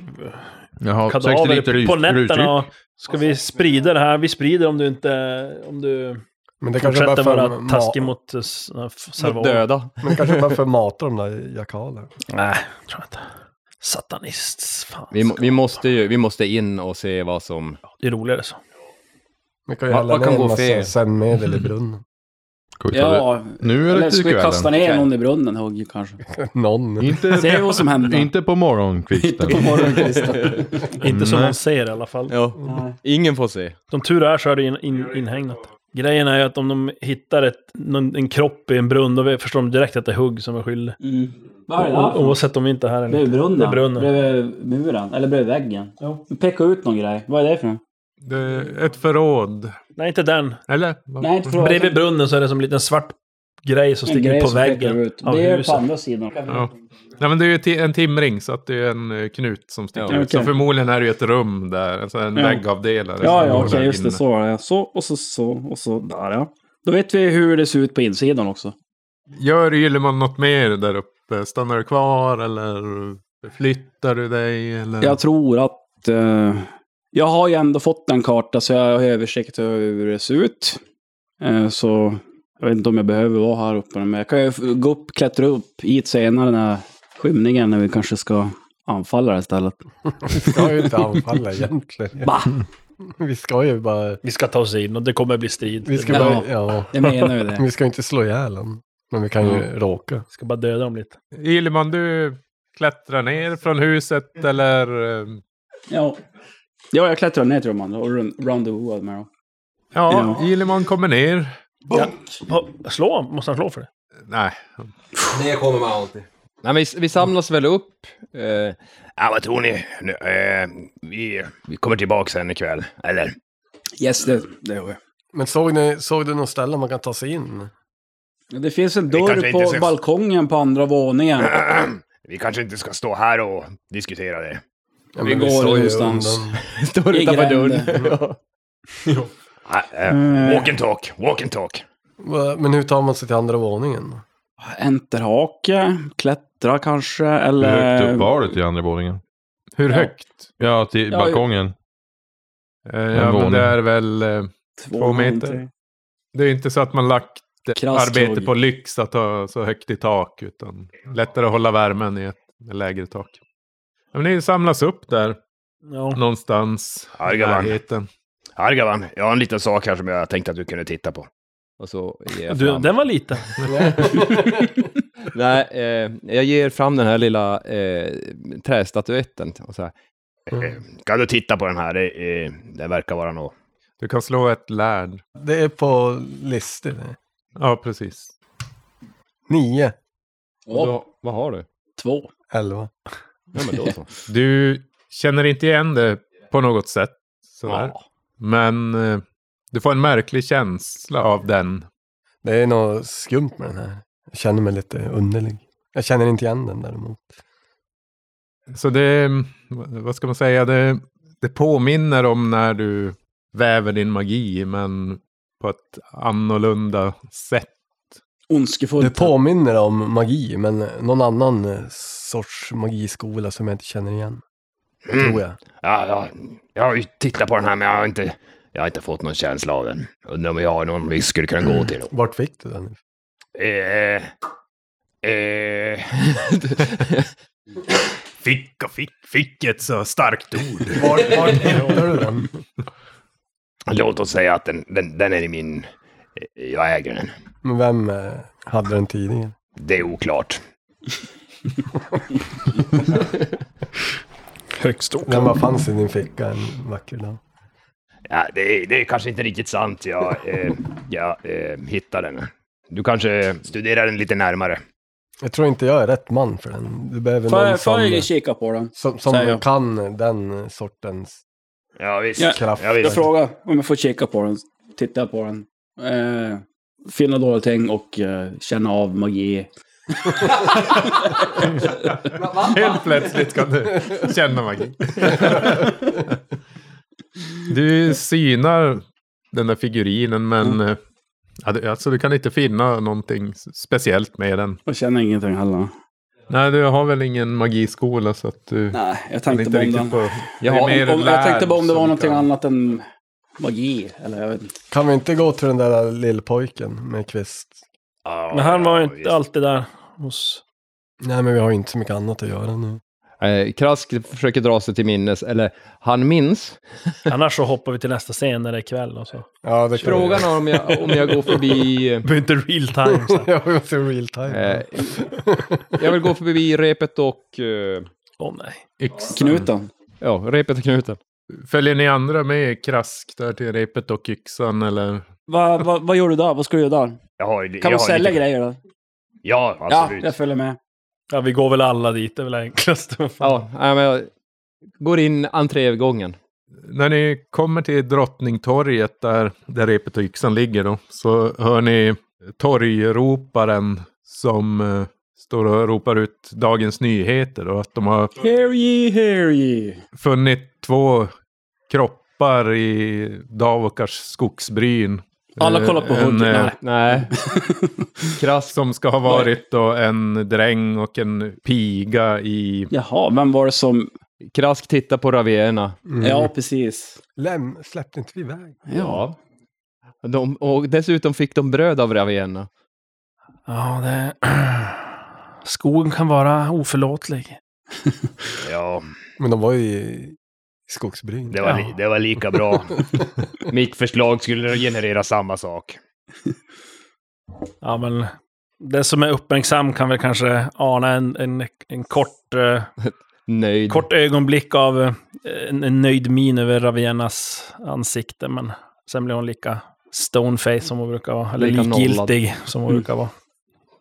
[SPEAKER 9] Jag har 60 liter
[SPEAKER 4] kadaver
[SPEAKER 9] ut-
[SPEAKER 4] på
[SPEAKER 9] uttryck.
[SPEAKER 4] nätterna. och Ska vi sprida det här? Vi sprider om du inte, om du
[SPEAKER 7] Men det kanske bara
[SPEAKER 4] fortsätter
[SPEAKER 7] för
[SPEAKER 4] vara taskig
[SPEAKER 7] ma-
[SPEAKER 4] mot eh, s- eh, f-
[SPEAKER 5] Mot
[SPEAKER 4] Serval.
[SPEAKER 5] döda.
[SPEAKER 7] men kanske bara för att mata de där jakalerna.
[SPEAKER 4] Nej, tror jag inte. Satanist. Fan.
[SPEAKER 5] Vi, må- vi, måste ju, vi måste in och se vad som...
[SPEAKER 4] Det är roligare så.
[SPEAKER 7] Vi kan ju
[SPEAKER 5] Vad-
[SPEAKER 7] hälla
[SPEAKER 5] vad
[SPEAKER 7] ner
[SPEAKER 5] kan
[SPEAKER 7] en
[SPEAKER 5] gå
[SPEAKER 7] massa
[SPEAKER 5] fel?
[SPEAKER 7] sömnmedel i brunnen.
[SPEAKER 9] Ska vi ta det?
[SPEAKER 6] Ja,
[SPEAKER 9] Nu är
[SPEAKER 6] eller
[SPEAKER 9] det
[SPEAKER 6] ska
[SPEAKER 9] till
[SPEAKER 6] vi kasta
[SPEAKER 9] kvällen.
[SPEAKER 6] ner någon i brunnen, Hugge, kanske?
[SPEAKER 7] Någon.
[SPEAKER 9] Inte,
[SPEAKER 6] Se vad som händer.
[SPEAKER 9] inte på
[SPEAKER 6] Inte
[SPEAKER 9] morgonkvisten.
[SPEAKER 6] på morgonkvisten.
[SPEAKER 4] Inte som
[SPEAKER 7] Mm.
[SPEAKER 9] Nej.
[SPEAKER 4] de ser i alla fall.
[SPEAKER 5] Ja. Ingen får se.
[SPEAKER 4] Som tur är så är det in, in, inhägnat. Grejen är ju att om de hittar ett, någon, en kropp i en brunn, då förstår de direkt att det är hugg som är skyldig.
[SPEAKER 6] Mm.
[SPEAKER 4] O- Oavsett om vi inte är här eller
[SPEAKER 6] Bredvid brunnen?
[SPEAKER 4] inte. Det är brunnen.
[SPEAKER 6] Bredvid muren? Eller bredvid väggen? Peka ut någon grej. Vad är det för något?
[SPEAKER 3] Det är ett förråd.
[SPEAKER 4] Nej, inte den.
[SPEAKER 3] Eller? Vad-
[SPEAKER 6] Nej, inte frågan.
[SPEAKER 4] Bredvid brunnen så är det som en liten svart grej som sticker ut på väggen
[SPEAKER 6] Ut.
[SPEAKER 4] av
[SPEAKER 6] Det är på
[SPEAKER 4] huset.
[SPEAKER 6] andra sidan.
[SPEAKER 3] Ja. Nej, men det är ju ti- en timring så att det är en eh, knut som sticker
[SPEAKER 5] Ja,
[SPEAKER 3] ut. Så
[SPEAKER 6] okej.
[SPEAKER 3] förmodligen är det ju ett rum där, alltså en
[SPEAKER 6] Ja.
[SPEAKER 3] väggavdelare.
[SPEAKER 6] Ja,
[SPEAKER 3] som
[SPEAKER 6] ja,
[SPEAKER 3] går
[SPEAKER 6] okej,
[SPEAKER 3] där
[SPEAKER 6] just det.
[SPEAKER 3] inne.
[SPEAKER 6] Så var det. Så, och så, så, och så, där ja. Då vet vi hur det ser ut på insidan också.
[SPEAKER 3] Gör Ylemon något mer där uppe? Stannar du kvar eller flyttar du dig? Eller?
[SPEAKER 6] Jag tror att eh, Jag har ju ändå fått en karta så jag har översikt över hur det ser ut. Eh, Så jag vet inte om jag behöver vara här uppe. Men jag kan ju f- gå upp, klättra upp hit senare när skymningen när vi kanske ska anfalla det här stället.
[SPEAKER 7] Vi ska ju inte anfalla egentligen.
[SPEAKER 6] Va?
[SPEAKER 7] Vi ska ju bara...
[SPEAKER 4] Vi ska ta oss in och det kommer bli strid.
[SPEAKER 7] Vi ska
[SPEAKER 6] Ja.
[SPEAKER 7] bara... Ja.
[SPEAKER 6] Jag menar ju det.
[SPEAKER 7] Vi ska ju inte slå ihjäl honom. Men vi kan ju råka.
[SPEAKER 4] Vi ska bara döda dem lite.
[SPEAKER 3] Ilman, du klättrar ner från huset eller... eh,
[SPEAKER 6] Ja. ja, jag klättrar ner till de andra och run- roundabouade med dem.
[SPEAKER 3] Ja,
[SPEAKER 6] Ja.
[SPEAKER 3] Ilman kommer ner.
[SPEAKER 4] Ha- Slå Måste han slå för det?
[SPEAKER 3] Nej,
[SPEAKER 5] Det kommer man alltid. Nej, men vi, vi samlas väl upp. Eh,
[SPEAKER 8] Ja, vad tror ni? Nu, eh, vi, vi kommer tillbaka sen ikväll, eller?
[SPEAKER 6] Yes, det, det gör jag.
[SPEAKER 7] Men såg, ni, såg du någon ställe man kan ta sig in?
[SPEAKER 6] Ja, Det finns en
[SPEAKER 8] Vi kanske
[SPEAKER 6] dörr
[SPEAKER 8] inte
[SPEAKER 6] på
[SPEAKER 8] ses.
[SPEAKER 6] balkongen på andra våningen.
[SPEAKER 8] Vi kanske inte ska stå här och diskutera det.
[SPEAKER 7] Ja,
[SPEAKER 6] Vi
[SPEAKER 7] men
[SPEAKER 6] går
[SPEAKER 7] såg ju
[SPEAKER 6] någonstans.
[SPEAKER 7] undan.
[SPEAKER 5] står
[SPEAKER 6] I
[SPEAKER 5] utanför
[SPEAKER 6] gränden.
[SPEAKER 5] dörren. Ja.
[SPEAKER 8] Ah, eh,
[SPEAKER 6] Mm.
[SPEAKER 8] Walk and talk, walk and talk.
[SPEAKER 7] Va, Men hur tar man sig till andra våningen?
[SPEAKER 6] Enterhake, klättra kanske,
[SPEAKER 9] Hur
[SPEAKER 6] eller...
[SPEAKER 9] högt upp var det till andra våningen?
[SPEAKER 3] hur
[SPEAKER 6] Ja.
[SPEAKER 3] högt?
[SPEAKER 9] Ja, till
[SPEAKER 6] Ja,
[SPEAKER 9] balkongen.
[SPEAKER 3] Eh, Ja, men
[SPEAKER 9] våning.
[SPEAKER 3] det är väl... eh, Två meter.
[SPEAKER 6] tre.
[SPEAKER 3] Det är inte så att man lagt eh,
[SPEAKER 6] Krasst
[SPEAKER 3] arbete
[SPEAKER 6] låg.
[SPEAKER 3] på lyx att ha så högt i tak. Utan lättare att hålla värmen i ett lägre tak. Ja, Men ni samlas upp där
[SPEAKER 4] Ja.
[SPEAKER 3] någonstans i
[SPEAKER 8] Argavan.
[SPEAKER 3] närheten.
[SPEAKER 8] Argavan, jag har en liten sak här som jag tänkte att du kunde titta på.
[SPEAKER 5] Och så ger jag
[SPEAKER 4] Du,
[SPEAKER 5] fram.
[SPEAKER 4] den var liten.
[SPEAKER 5] Nej, eh, jag ger fram den här lilla eh, trästatyetten. Och så här.
[SPEAKER 8] Eh, Kan du titta på den här? Det, eh, det verkar vara något.
[SPEAKER 3] Du kan slå ett lärd.
[SPEAKER 7] Det är på listor. det.
[SPEAKER 3] Ja, precis.
[SPEAKER 7] Nio,
[SPEAKER 5] Och
[SPEAKER 6] Ja,
[SPEAKER 5] då, vad har du?
[SPEAKER 6] två.
[SPEAKER 7] elva.
[SPEAKER 5] Ja, men då så.
[SPEAKER 3] Du känner inte igen det på något sätt. Sådär. Men eh, du får en märklig känsla av den.
[SPEAKER 7] Det är något skumt med den här. Jag känner mig lite underlig. Jag känner inte igen den däremot.
[SPEAKER 3] Så det, vad ska man säga, det, det påminner om när du väver din magi, men på ett annorlunda sätt.
[SPEAKER 7] Det
[SPEAKER 6] Ondskefullt.
[SPEAKER 7] påminner om magi, men någon annan eh, sorts magiskola som jag inte känner igen. Tror jag.
[SPEAKER 8] Ja, ja, jag har ju tittat på den här, men jag har inte, jag har inte fått någon känsla av den. Undrar om jag har någon vi skulle kunna gå till.
[SPEAKER 7] Vart fick du den?
[SPEAKER 8] Eh, eh, fick och fick, fick ett så starkt ord.
[SPEAKER 7] Vart, vart hittade du den?
[SPEAKER 8] Låt oss säga att den, den, den är i min... eh, Jag äger den.
[SPEAKER 7] Men vem eh, hade den tidigare?
[SPEAKER 8] Det är oklart.
[SPEAKER 4] Högst upp.
[SPEAKER 7] Den bara fanns i din ficka en vacker dag.
[SPEAKER 8] Ja, det, är, det är kanske inte riktigt sant. Jag, eh, jag eh, hittar den. Du kanske studerar den lite närmare.
[SPEAKER 7] Jag tror inte jag är rätt man för den. Du behöver
[SPEAKER 6] Får
[SPEAKER 7] någon
[SPEAKER 6] jag- Får
[SPEAKER 7] som,
[SPEAKER 6] jag kika på den?
[SPEAKER 7] som,
[SPEAKER 6] säger
[SPEAKER 7] som
[SPEAKER 6] jag.
[SPEAKER 7] kan den sortens
[SPEAKER 8] Ja, visst.
[SPEAKER 6] Ja,
[SPEAKER 7] kraft.
[SPEAKER 8] Ja,
[SPEAKER 6] Jag
[SPEAKER 8] visst.
[SPEAKER 6] frågar om jag får kika på den. Titta på den. Eh, finna dåliga ting och eh, känna av magi.
[SPEAKER 3] Helt plötsligt kan du känna magi. Du synar den där figurinen, men
[SPEAKER 6] Mm.
[SPEAKER 3] eh, ja, du- alltså, du kan inte finna någonting speciellt med den.
[SPEAKER 6] Jag känner ingenting heller.
[SPEAKER 3] Nej, du har väl ingen magiskola så att du...
[SPEAKER 6] Nej, jag
[SPEAKER 3] kan
[SPEAKER 6] tänkte bara om den.
[SPEAKER 3] på... Det är
[SPEAKER 5] Jaha,
[SPEAKER 3] mer
[SPEAKER 6] Om, jag
[SPEAKER 3] lärd
[SPEAKER 6] tänkte bara om det var
[SPEAKER 3] som
[SPEAKER 6] någonting
[SPEAKER 3] kan-
[SPEAKER 6] annat än magi. Eller jag vet inte.
[SPEAKER 7] Kan vi inte gå till den där lillpojken med kvist?
[SPEAKER 8] Ja,
[SPEAKER 4] Men han var ju
[SPEAKER 8] ja,
[SPEAKER 4] inte
[SPEAKER 8] visst.
[SPEAKER 4] alltid där hos...
[SPEAKER 7] Nej, men vi har ju inte så mycket annat att göra nu.
[SPEAKER 5] Eh, Krask försöker dra sig till minnes, eller han minns.
[SPEAKER 4] Annars så hoppar vi till nästa scen när det är kväll och så.
[SPEAKER 7] Ja, det kan
[SPEAKER 5] Frågan är om jag, om jag går förbi... eh,
[SPEAKER 4] Det blir inte real time. Så. här.
[SPEAKER 7] Jag vill se real time.
[SPEAKER 5] Eh, jag vill gå förbi repet och... Eh,
[SPEAKER 4] Åh nej.
[SPEAKER 3] Yxan.
[SPEAKER 6] Knuten.
[SPEAKER 5] ja, repet och knuten.
[SPEAKER 3] Följer ni andra med krask där till repet och yxan eller?
[SPEAKER 6] Vad va, vad gör du där? Vad ska du göra där?
[SPEAKER 8] Jag har,
[SPEAKER 6] Kan
[SPEAKER 8] jag
[SPEAKER 6] man
[SPEAKER 8] har
[SPEAKER 6] sälja
[SPEAKER 8] lite...
[SPEAKER 6] grejer där?
[SPEAKER 8] Ja,
[SPEAKER 6] Ja,
[SPEAKER 8] absolut.
[SPEAKER 6] jag följer med.
[SPEAKER 4] Ja, vi går väl alla dit. Det är väl enklast.
[SPEAKER 5] Ja, nej, men jag går in entrégången.
[SPEAKER 3] När ni kommer till Drottningtorget där, där repet och yxan ligger då, så hör ni torgroparen som eh, står och ropar ut Dagens Nyheter och att de har
[SPEAKER 6] Hear ye, hear ye.
[SPEAKER 3] funnit två kroppar i Davokars skogsbryn.
[SPEAKER 6] Alla
[SPEAKER 3] Eh,
[SPEAKER 6] kollar på
[SPEAKER 3] en,
[SPEAKER 6] Hugg.
[SPEAKER 3] eh,
[SPEAKER 6] Nej.
[SPEAKER 5] Nej. Krask.
[SPEAKER 3] Som ska ha varit då en dräng och en piga i...
[SPEAKER 6] Jaha, vem var det som
[SPEAKER 5] Krask tittar på ravierna.
[SPEAKER 7] Mm.
[SPEAKER 6] Ja, precis.
[SPEAKER 7] Läm, släppte inte vi iväg?
[SPEAKER 6] Ja.
[SPEAKER 5] De, och dessutom fick de bröd av ravierna.
[SPEAKER 4] Ja, det... Skogen kan vara oförlåtlig.
[SPEAKER 8] Ja,
[SPEAKER 7] Men de var ju i skogsbryn.
[SPEAKER 8] det var, li- det var lika bra. Mitt förslag skulle generera samma sak.
[SPEAKER 4] Ja, men den som är uppmärksam kan väl kanske ana en, en, en kort,
[SPEAKER 6] Mm.
[SPEAKER 4] eh,
[SPEAKER 5] Nöjd.
[SPEAKER 4] kort ögonblick av eh, en, en nöjd min över Ravenas ansikte. Men sen blir hon lika stoneface som hon brukar vara. Eller
[SPEAKER 5] Lika
[SPEAKER 4] likgiltig som hon
[SPEAKER 6] Mm.
[SPEAKER 4] brukar vara.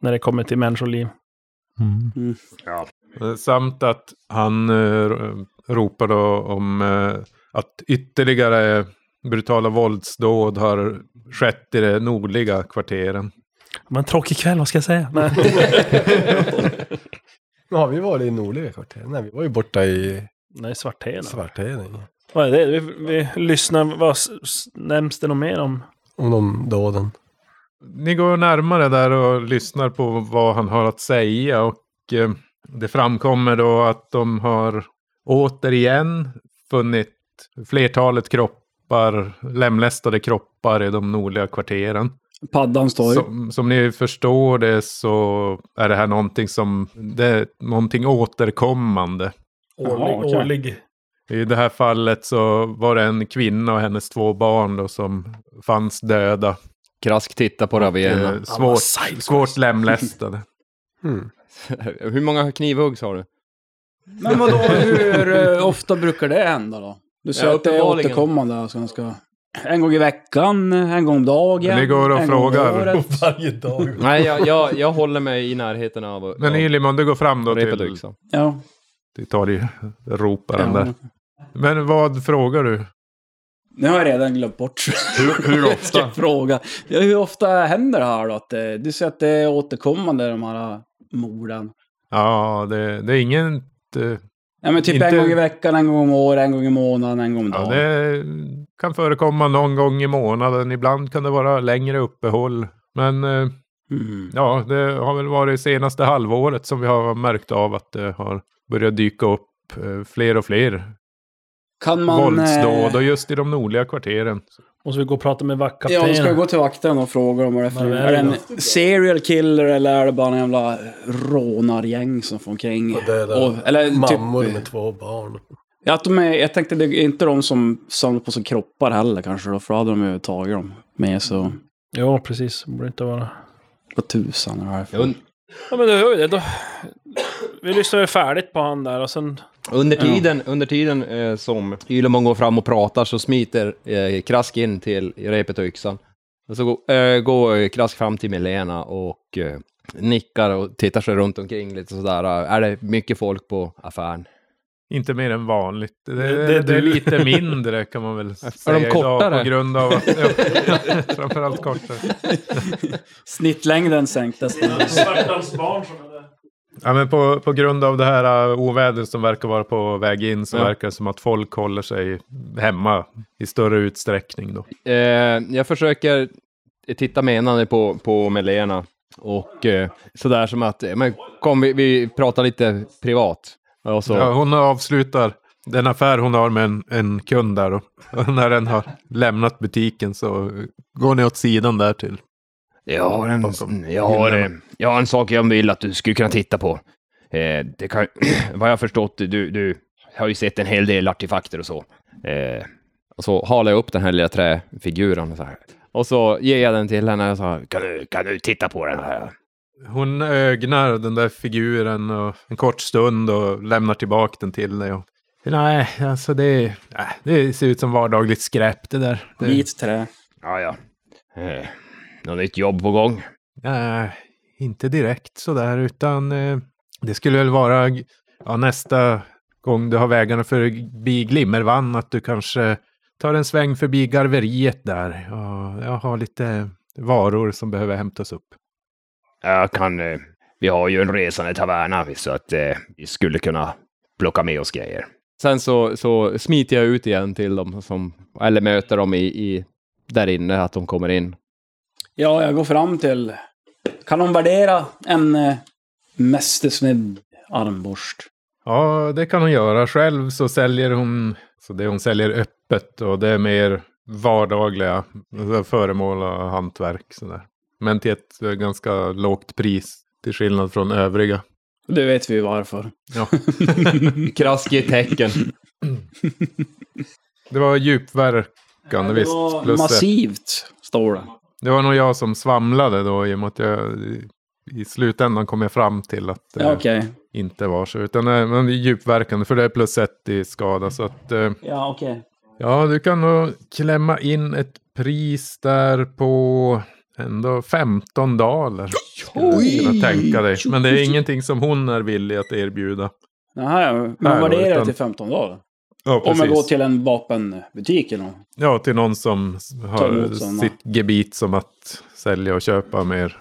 [SPEAKER 4] När det kommer till människoliv.
[SPEAKER 3] Eh, Samt att han eh, ropar då om eh, att ytterligare brutala våldsdåd har skett i de nordliga kvarteren.
[SPEAKER 4] Det var en tråkig kväll, vad ska jag säga? Nej.
[SPEAKER 7] Nu har vi varit i nordliga kvarteren. Nej, vi var ju borta i
[SPEAKER 4] Nej, Svartheden.
[SPEAKER 7] Svartheden.
[SPEAKER 4] Vad är det? Vi, vi lyssnar. Vad, s- s- nämns det något mer om?
[SPEAKER 7] Om de dåden.
[SPEAKER 3] Ni går närmare där och lyssnar på vad han har att säga och eh, det framkommer då att de har återigen funnit flertalet kroppar, lemlästade kroppar i de nordliga kvarteren.
[SPEAKER 6] Paddan står ju.
[SPEAKER 3] Som, som ni förstår det så är det här någonting som, det är någonting återkommande.
[SPEAKER 6] Jaha, okej.
[SPEAKER 3] I det här fallet så var det en kvinna och hennes två barn då som fanns döda.
[SPEAKER 5] Krask tittar på
[SPEAKER 3] Eh,
[SPEAKER 5] ravierna.
[SPEAKER 3] svårt, svårt lemlästade.
[SPEAKER 7] Hmm.
[SPEAKER 5] Hur många knivhugg har du?
[SPEAKER 6] Men vadå, hur eh, ofta brukar det hända då? Du säger
[SPEAKER 5] Ja,
[SPEAKER 6] att det är
[SPEAKER 5] uppenbarligen.
[SPEAKER 6] återkommande. Alltså, man ska... En gång i veckan, en gång om dagen.
[SPEAKER 3] Men det går och
[SPEAKER 6] en gång om
[SPEAKER 3] frågar.
[SPEAKER 6] året.
[SPEAKER 7] Varje dag.
[SPEAKER 5] Nej, jag, jag, jag håller mig i närheten av...
[SPEAKER 3] Men
[SPEAKER 5] av
[SPEAKER 3] Ylimon, du går fram då
[SPEAKER 5] repet och
[SPEAKER 3] till,
[SPEAKER 5] yxan.
[SPEAKER 6] Ja.
[SPEAKER 3] till torgroparen
[SPEAKER 6] ja.
[SPEAKER 3] där. Men vad frågar du?
[SPEAKER 6] Nu har jag redan glömt bort.
[SPEAKER 9] Hur, hur
[SPEAKER 6] Jag ska fråga. Ja, hur ofta händer det här då? Att, eh, du säger att det är återkommande, de här eh, morden.
[SPEAKER 3] Ja, det, det är ingen... eh,
[SPEAKER 6] Ja, men typ
[SPEAKER 3] Inte-
[SPEAKER 6] en gång i veckan, en gång om året, en gång i månaden, en gång om
[SPEAKER 3] Ja,
[SPEAKER 6] dagen.
[SPEAKER 3] det kan förekomma någon gång i månaden. Ibland kan det vara längre uppehåll. Men eh,
[SPEAKER 6] Mm.
[SPEAKER 3] ja, det har väl varit senaste halvåret som vi har märkt av att det har börjat dyka upp eh, fler och fler
[SPEAKER 6] Kan man...
[SPEAKER 3] våldsdåd.
[SPEAKER 6] eh,
[SPEAKER 3] Och just i de nordliga kvarteren.
[SPEAKER 4] Måste vi gå och prata med
[SPEAKER 6] Ja, då ska jag
[SPEAKER 4] vaktkaptenen?
[SPEAKER 6] gå till vakten och fråga om vad det är för...
[SPEAKER 4] Men
[SPEAKER 6] Är
[SPEAKER 4] är
[SPEAKER 6] det
[SPEAKER 4] det
[SPEAKER 6] en serial killer eller är det bara en jävla rånargäng som får omkring?
[SPEAKER 7] Och döda
[SPEAKER 6] eller
[SPEAKER 7] Mammor
[SPEAKER 6] typ...
[SPEAKER 7] med två barn.
[SPEAKER 6] Ja, att de är, jag tänkte det är inte de som samlar på sig kroppar heller kanske då, för då hade de ju tagit dem med så...
[SPEAKER 4] Ja, precis. Det borde inte vara...
[SPEAKER 6] Vad tusan är det här för?
[SPEAKER 5] Und,
[SPEAKER 4] Ja, men då gör vi det. Då... Vi lyssnar väl färdigt på han där och sen...
[SPEAKER 5] under tiden, under tiden eh, som Ylimon går fram och pratar så smiter eh, Krask in till repet och yxan. Och så går, eh, går eh, Krask fram till Milena och eh, nickar och tittar sig runt omkring lite sådär. eh, Är det mycket folk på affären?
[SPEAKER 3] Inte mer än vanligt. Det, det,
[SPEAKER 4] Det- det är
[SPEAKER 3] är
[SPEAKER 4] du.
[SPEAKER 3] lite mindre kan man väl säga
[SPEAKER 5] kortare?
[SPEAKER 3] idag på grund av att... Ja, framförallt kortare.
[SPEAKER 6] Snittlängden sänktes.
[SPEAKER 3] Ja, men på, på grund av det här uh, ovädret som verkar vara på väg in så
[SPEAKER 5] Ja.
[SPEAKER 3] verkar det som att folk håller sig hemma i större utsträckning då.
[SPEAKER 5] Eh, jag försöker titta menande på, på Melena och eh, sådär som att, eh, men kom vi, vi pratar lite privat. Och så,
[SPEAKER 3] Ja, hon avslutar den affär hon har med en, en kund där då. Och när den har lämnat butiken så går ni åt sidan där till.
[SPEAKER 8] Jag har en, jag har, eh, jag har en sak jag vill att du skulle kunna titta på. Eh, det kan, vad jag har förstått, du, du har ju sett en hel del artefakter och så.
[SPEAKER 5] eh, och så halar jag upp den här lilla träfiguren och så här. Och så ger jag den till henne och så här,
[SPEAKER 8] Kan du, kan du titta på den här?
[SPEAKER 3] Hon ögnar den där figuren och en kort stund och lämnar tillbaka den till dig. Och... Nej, alltså det, nej, det ser ut som vardagligt skräp det där. Det,
[SPEAKER 6] Vit trä.
[SPEAKER 8] Ja, ja. Eh, något nytt jobb på gång?
[SPEAKER 3] Nej, Eh, inte direkt sådär, utan eh, det skulle väl vara g- ja, nästa gång du har vägarna förbi Glimmervann att du kanske tar en sväng förbi garveriet där. Ja, jag har lite varor som behöver hämtas upp.
[SPEAKER 8] Jag kan, eh, vi har ju en resande taverna, så att eh, vi skulle kunna plocka med oss grejer.
[SPEAKER 5] Sen så, så smiter jag ut igen till dem som, eller möter dem i, i där inne, att de kommer in.
[SPEAKER 6] Ja, jag går fram till... Kan de värdera en eh, mästersnidd armborst?
[SPEAKER 3] Ja, det kan hon göra. Själv så säljer hon, så det hon säljer öppet och det är mer vardagliga alltså föremål och hantverk. Sådär. Men till ett eh, ganska lågt pris till skillnad från övriga.
[SPEAKER 6] Det vet vi varför.
[SPEAKER 3] Ja.
[SPEAKER 5] Krask i tecken.
[SPEAKER 3] Det var djupverkande visst. Plus ett.
[SPEAKER 6] massivt, står det.
[SPEAKER 3] Det var nog jag som svamlade då i och med att jag i slutändan kom jag fram till att det
[SPEAKER 6] Ja, okej.
[SPEAKER 3] inte var så. Utan eh, men det är djupverkande för det är plus ett i skada. Så att, eh,
[SPEAKER 6] Ja, okej.
[SPEAKER 3] ja, du kan nog klämma in ett pris där på ändå 15 daler. Skulle jag kunna tänka dig. Men det är ingenting som hon är villig att erbjuda.
[SPEAKER 6] Nähä, men
[SPEAKER 3] Nej,
[SPEAKER 6] man värderar
[SPEAKER 3] utan-
[SPEAKER 6] till 15 dagar.
[SPEAKER 3] Ja,
[SPEAKER 6] Om jag går till en vapenbutik eller något.
[SPEAKER 3] Ja, till någon som har
[SPEAKER 6] emot sådana.
[SPEAKER 3] sitt gebit som att sälja och köpa mer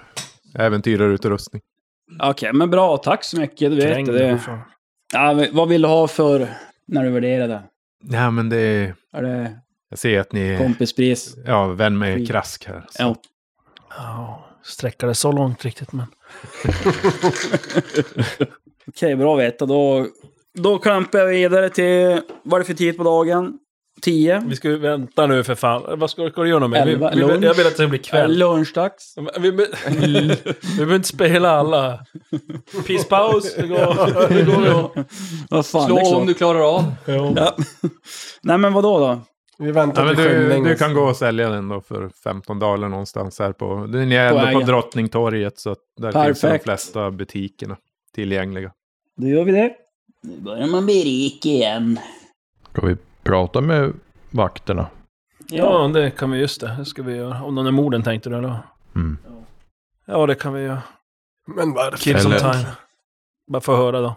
[SPEAKER 3] äventyrarutrustning.
[SPEAKER 6] Okej, men bra. Tack så mycket. Du vet
[SPEAKER 4] Trängd
[SPEAKER 6] det.
[SPEAKER 4] därifrån.
[SPEAKER 6] Ja, men vad vill du ha för när du värderade?
[SPEAKER 3] Nej, men det är...
[SPEAKER 6] Är det
[SPEAKER 3] Jag ser att ni är
[SPEAKER 6] kompispris?
[SPEAKER 3] ja, vän med Krask här. Så.
[SPEAKER 6] Mm. Ja.
[SPEAKER 4] Ja, sträcka det så långt riktigt, men...
[SPEAKER 6] Okej, bra att veta. Då, då klampar jag vidare till... Vad är det för tid på dagen? 10?
[SPEAKER 4] Vi ska ju vänta nu för fan. Vad ska, ska du göra något med? Vi,
[SPEAKER 6] Elva,
[SPEAKER 4] vi,
[SPEAKER 6] lunch.
[SPEAKER 4] jag vill att det blir
[SPEAKER 6] Är det
[SPEAKER 4] kväll.
[SPEAKER 6] lunchdags?
[SPEAKER 4] Vi, vi, vi behöver inte spela alla. Pisspaus. Det går.
[SPEAKER 6] Det går då. Vad fan, det är
[SPEAKER 4] liksom.
[SPEAKER 5] Slå
[SPEAKER 6] klart.
[SPEAKER 5] om du klarar av.
[SPEAKER 6] Ja. Nej, men vadå då?
[SPEAKER 7] Vi väntar
[SPEAKER 3] Ja, men
[SPEAKER 7] till
[SPEAKER 3] du,
[SPEAKER 7] skymning.
[SPEAKER 3] du kan gå och sälja den då för 15 daler någonstans här på... Ni är
[SPEAKER 6] På
[SPEAKER 3] ändå på
[SPEAKER 6] ägaren.
[SPEAKER 3] Drottningtorget så att där finns de
[SPEAKER 6] Perfekt.
[SPEAKER 3] flesta butikerna tillgängliga.
[SPEAKER 6] Då gör vi det. Nu börjar man bli rik igen.
[SPEAKER 9] Ska vi prata med vakterna?
[SPEAKER 4] Ja, det kan vi. Just det. Det ska vi göra. Om någon är morden tänkte du, eller?
[SPEAKER 9] Mm.
[SPEAKER 4] Ja, det kan vi göra.
[SPEAKER 7] Men varför?
[SPEAKER 4] Kill some
[SPEAKER 9] Eller-
[SPEAKER 4] time. Bara få höra då.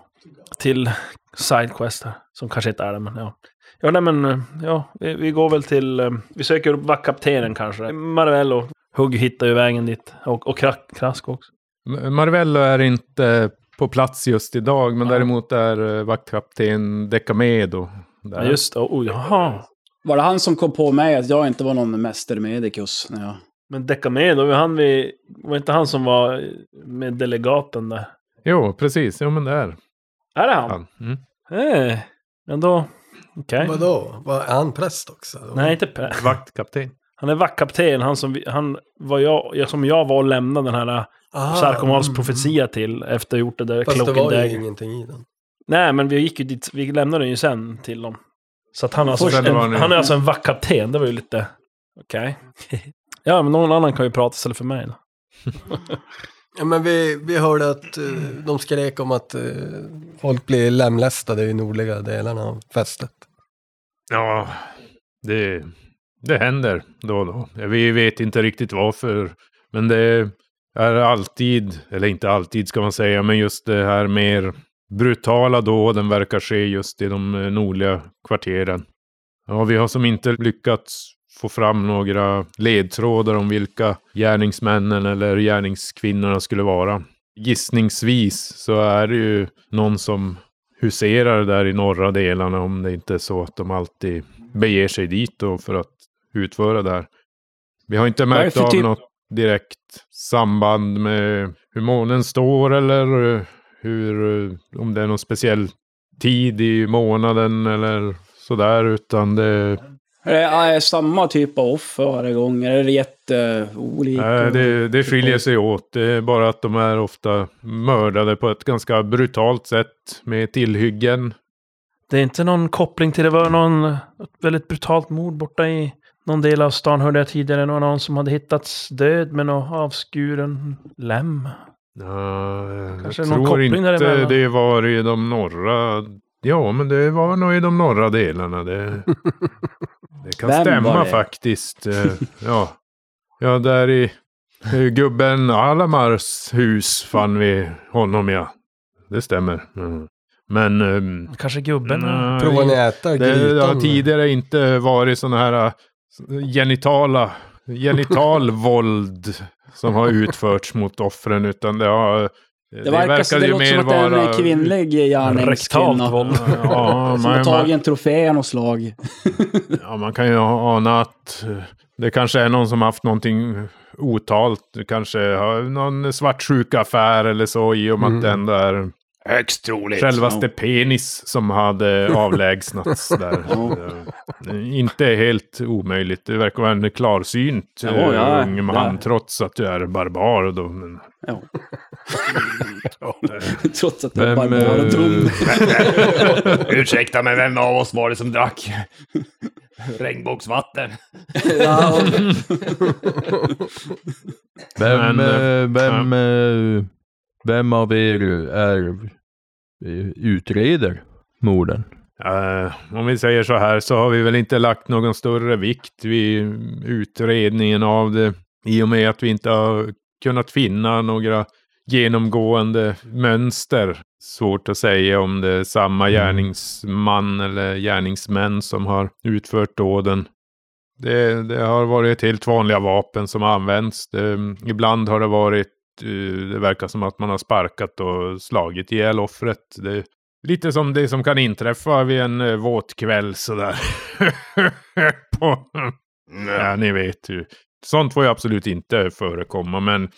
[SPEAKER 4] Till Sidequest här. Som kanske inte är det, men ja. Ja, nej men, eh, ja, vi, vi går väl till... eh, Vi söker upp vaktkaptenen kanske. Marvello. Hugg hittar ju vägen dit. Och, och Krak- Krask också.
[SPEAKER 3] M- Marvello är inte på plats just idag, men
[SPEAKER 4] Ja.
[SPEAKER 3] däremot är eh, vaktkapten Decamedo där.
[SPEAKER 4] Ja, just det. Oh, jaha.
[SPEAKER 6] Var det han som kom på mig att jag inte var någon mästermedikus? när jag
[SPEAKER 4] Men Decamedo, var han vi, var inte han som var med delegaten där?
[SPEAKER 3] Jo, precis. Jo, men det är
[SPEAKER 4] Är det han?
[SPEAKER 3] han. Mm.
[SPEAKER 4] Eh, men då... Okej.
[SPEAKER 7] Vadå? Var är han präst också?
[SPEAKER 4] Nej, inte Pe-
[SPEAKER 3] Vaktkapten.
[SPEAKER 4] Han är vaktkapten, han som, vi- han var jag, jag, som jag var och lämnade den här
[SPEAKER 7] Ah,
[SPEAKER 4] Sarkomals
[SPEAKER 7] mm.
[SPEAKER 4] profetia till efter att ha gjort det där
[SPEAKER 7] Fast det
[SPEAKER 4] Cloak and
[SPEAKER 7] var ju
[SPEAKER 4] Dagger.
[SPEAKER 7] ingenting i den.
[SPEAKER 4] Nej, men vi gick ju dit, vi lämnade den ju sen till dem. Så att han, är alltså,
[SPEAKER 3] Först
[SPEAKER 4] en,
[SPEAKER 3] var ni-
[SPEAKER 4] han är alltså en vaktkapten, det var ju lite... Okej. ja, men någon annan kan ju prata istället för mig. Då.
[SPEAKER 7] Ja, men vi, vi hörde att eh, de skrek om att eh, folk blir lemlästade i nordliga delarna av fästet.
[SPEAKER 3] Ja, det, det händer då och då. Vi vet inte riktigt varför, men det är alltid, eller inte alltid ska man säga, men just det här mer brutala då, den verkar ske just i de eh, nordliga kvarteren. Ja, vi har som inte lyckats få fram några ledtrådar om vilka gärningsmännen eller gärningskvinnorna skulle vara. Gissningsvis så är det ju någon som huserar där i norra delarna om det inte är så att de alltid beger sig dit då för att utföra det här. Vi har inte
[SPEAKER 6] Vad är det
[SPEAKER 3] märkt
[SPEAKER 6] för
[SPEAKER 3] av
[SPEAKER 6] typ-
[SPEAKER 3] något direkt samband med hur månen står eller eh, hur, eh, om det är någon speciell tid i månaden eller sådär, utan det,
[SPEAKER 6] Är det är samma typ av offer varje gång? Eller Är det jätteolika?
[SPEAKER 3] nej, det, det skiljer sig åt. Det är bara att de är ofta mördade på ett ganska brutalt sätt med tillhyggen.
[SPEAKER 4] Det är inte någon koppling till det var någon ett väldigt brutalt mord borta i någon del av stan hörde jag tidigare. Någon, någon som hade hittats död med någon avskuren lem.
[SPEAKER 3] Ja, jag
[SPEAKER 4] Kanske någon
[SPEAKER 3] tror
[SPEAKER 4] koppling
[SPEAKER 3] inte
[SPEAKER 4] däremellan.
[SPEAKER 3] det var i de norra... Ja, men det var nog i de norra delarna. Det, det kan
[SPEAKER 6] Vem var
[SPEAKER 3] stämma
[SPEAKER 6] det?
[SPEAKER 3] faktiskt. Eh, Ja. ja, där i eh, gubben Alamars hus fann vi honom, ja. Det stämmer. Mm. Men... ehm,
[SPEAKER 4] Kanske gubben?
[SPEAKER 3] nej,
[SPEAKER 7] Provar ni äta
[SPEAKER 3] det har
[SPEAKER 7] grytan?
[SPEAKER 3] tidigare inte varit sådana här eh, genitala, genital våld som har utförts mot offren, utan det har... eh,
[SPEAKER 6] Det verkar, så- det låter som att det är en kvinnlig
[SPEAKER 4] Rektalt
[SPEAKER 6] gärningskvinna.
[SPEAKER 4] våld.
[SPEAKER 3] Ja,
[SPEAKER 6] Som har
[SPEAKER 3] man,
[SPEAKER 6] tagit
[SPEAKER 3] man,
[SPEAKER 6] en trofé av något slag.
[SPEAKER 3] ja, man kan ju ana att eh, det kanske är någon som haft någonting otalt. Det Kanske har någon svartsjuk affär eller så i och med att det ändå är
[SPEAKER 8] Högst troligt.
[SPEAKER 3] Självaste penis som hade avlägsnats där. Det är Inte helt omöjligt. Det verkar vara en klarsynt
[SPEAKER 6] Ja,
[SPEAKER 3] eh,
[SPEAKER 6] ja,
[SPEAKER 3] ung
[SPEAKER 6] det-
[SPEAKER 3] man trots att du är barbar. Då, men...
[SPEAKER 6] Ja. Trots att jag
[SPEAKER 9] Vem,
[SPEAKER 6] bara var
[SPEAKER 9] eh,
[SPEAKER 6] dum.
[SPEAKER 8] Ursäkta, men vem av oss var det som drack regnbågsvatten?
[SPEAKER 6] ja, och-
[SPEAKER 9] Vem,
[SPEAKER 3] Men, eh,
[SPEAKER 9] eh, vem, eh, vem av er är eh, utreder morden?
[SPEAKER 3] Eh, om vi säger så här så har vi väl inte lagt någon större vikt vid utredningen av det. I och med att vi inte har kunnat finna några genomgående mönster. Svårt att säga om det är samma gärningsman eller gärningsmän som har utfört dåden. Det, det har varit helt vanliga vapen som har använts. Det, ibland har det varit, eh, det verkar som att man har sparkat och slagit ihjäl offret. Det, Lite som det som kan inträffa vid en eh, våt kväll sådär. På, ja, ni vet ju. Sånt får ju absolut inte förekomma, men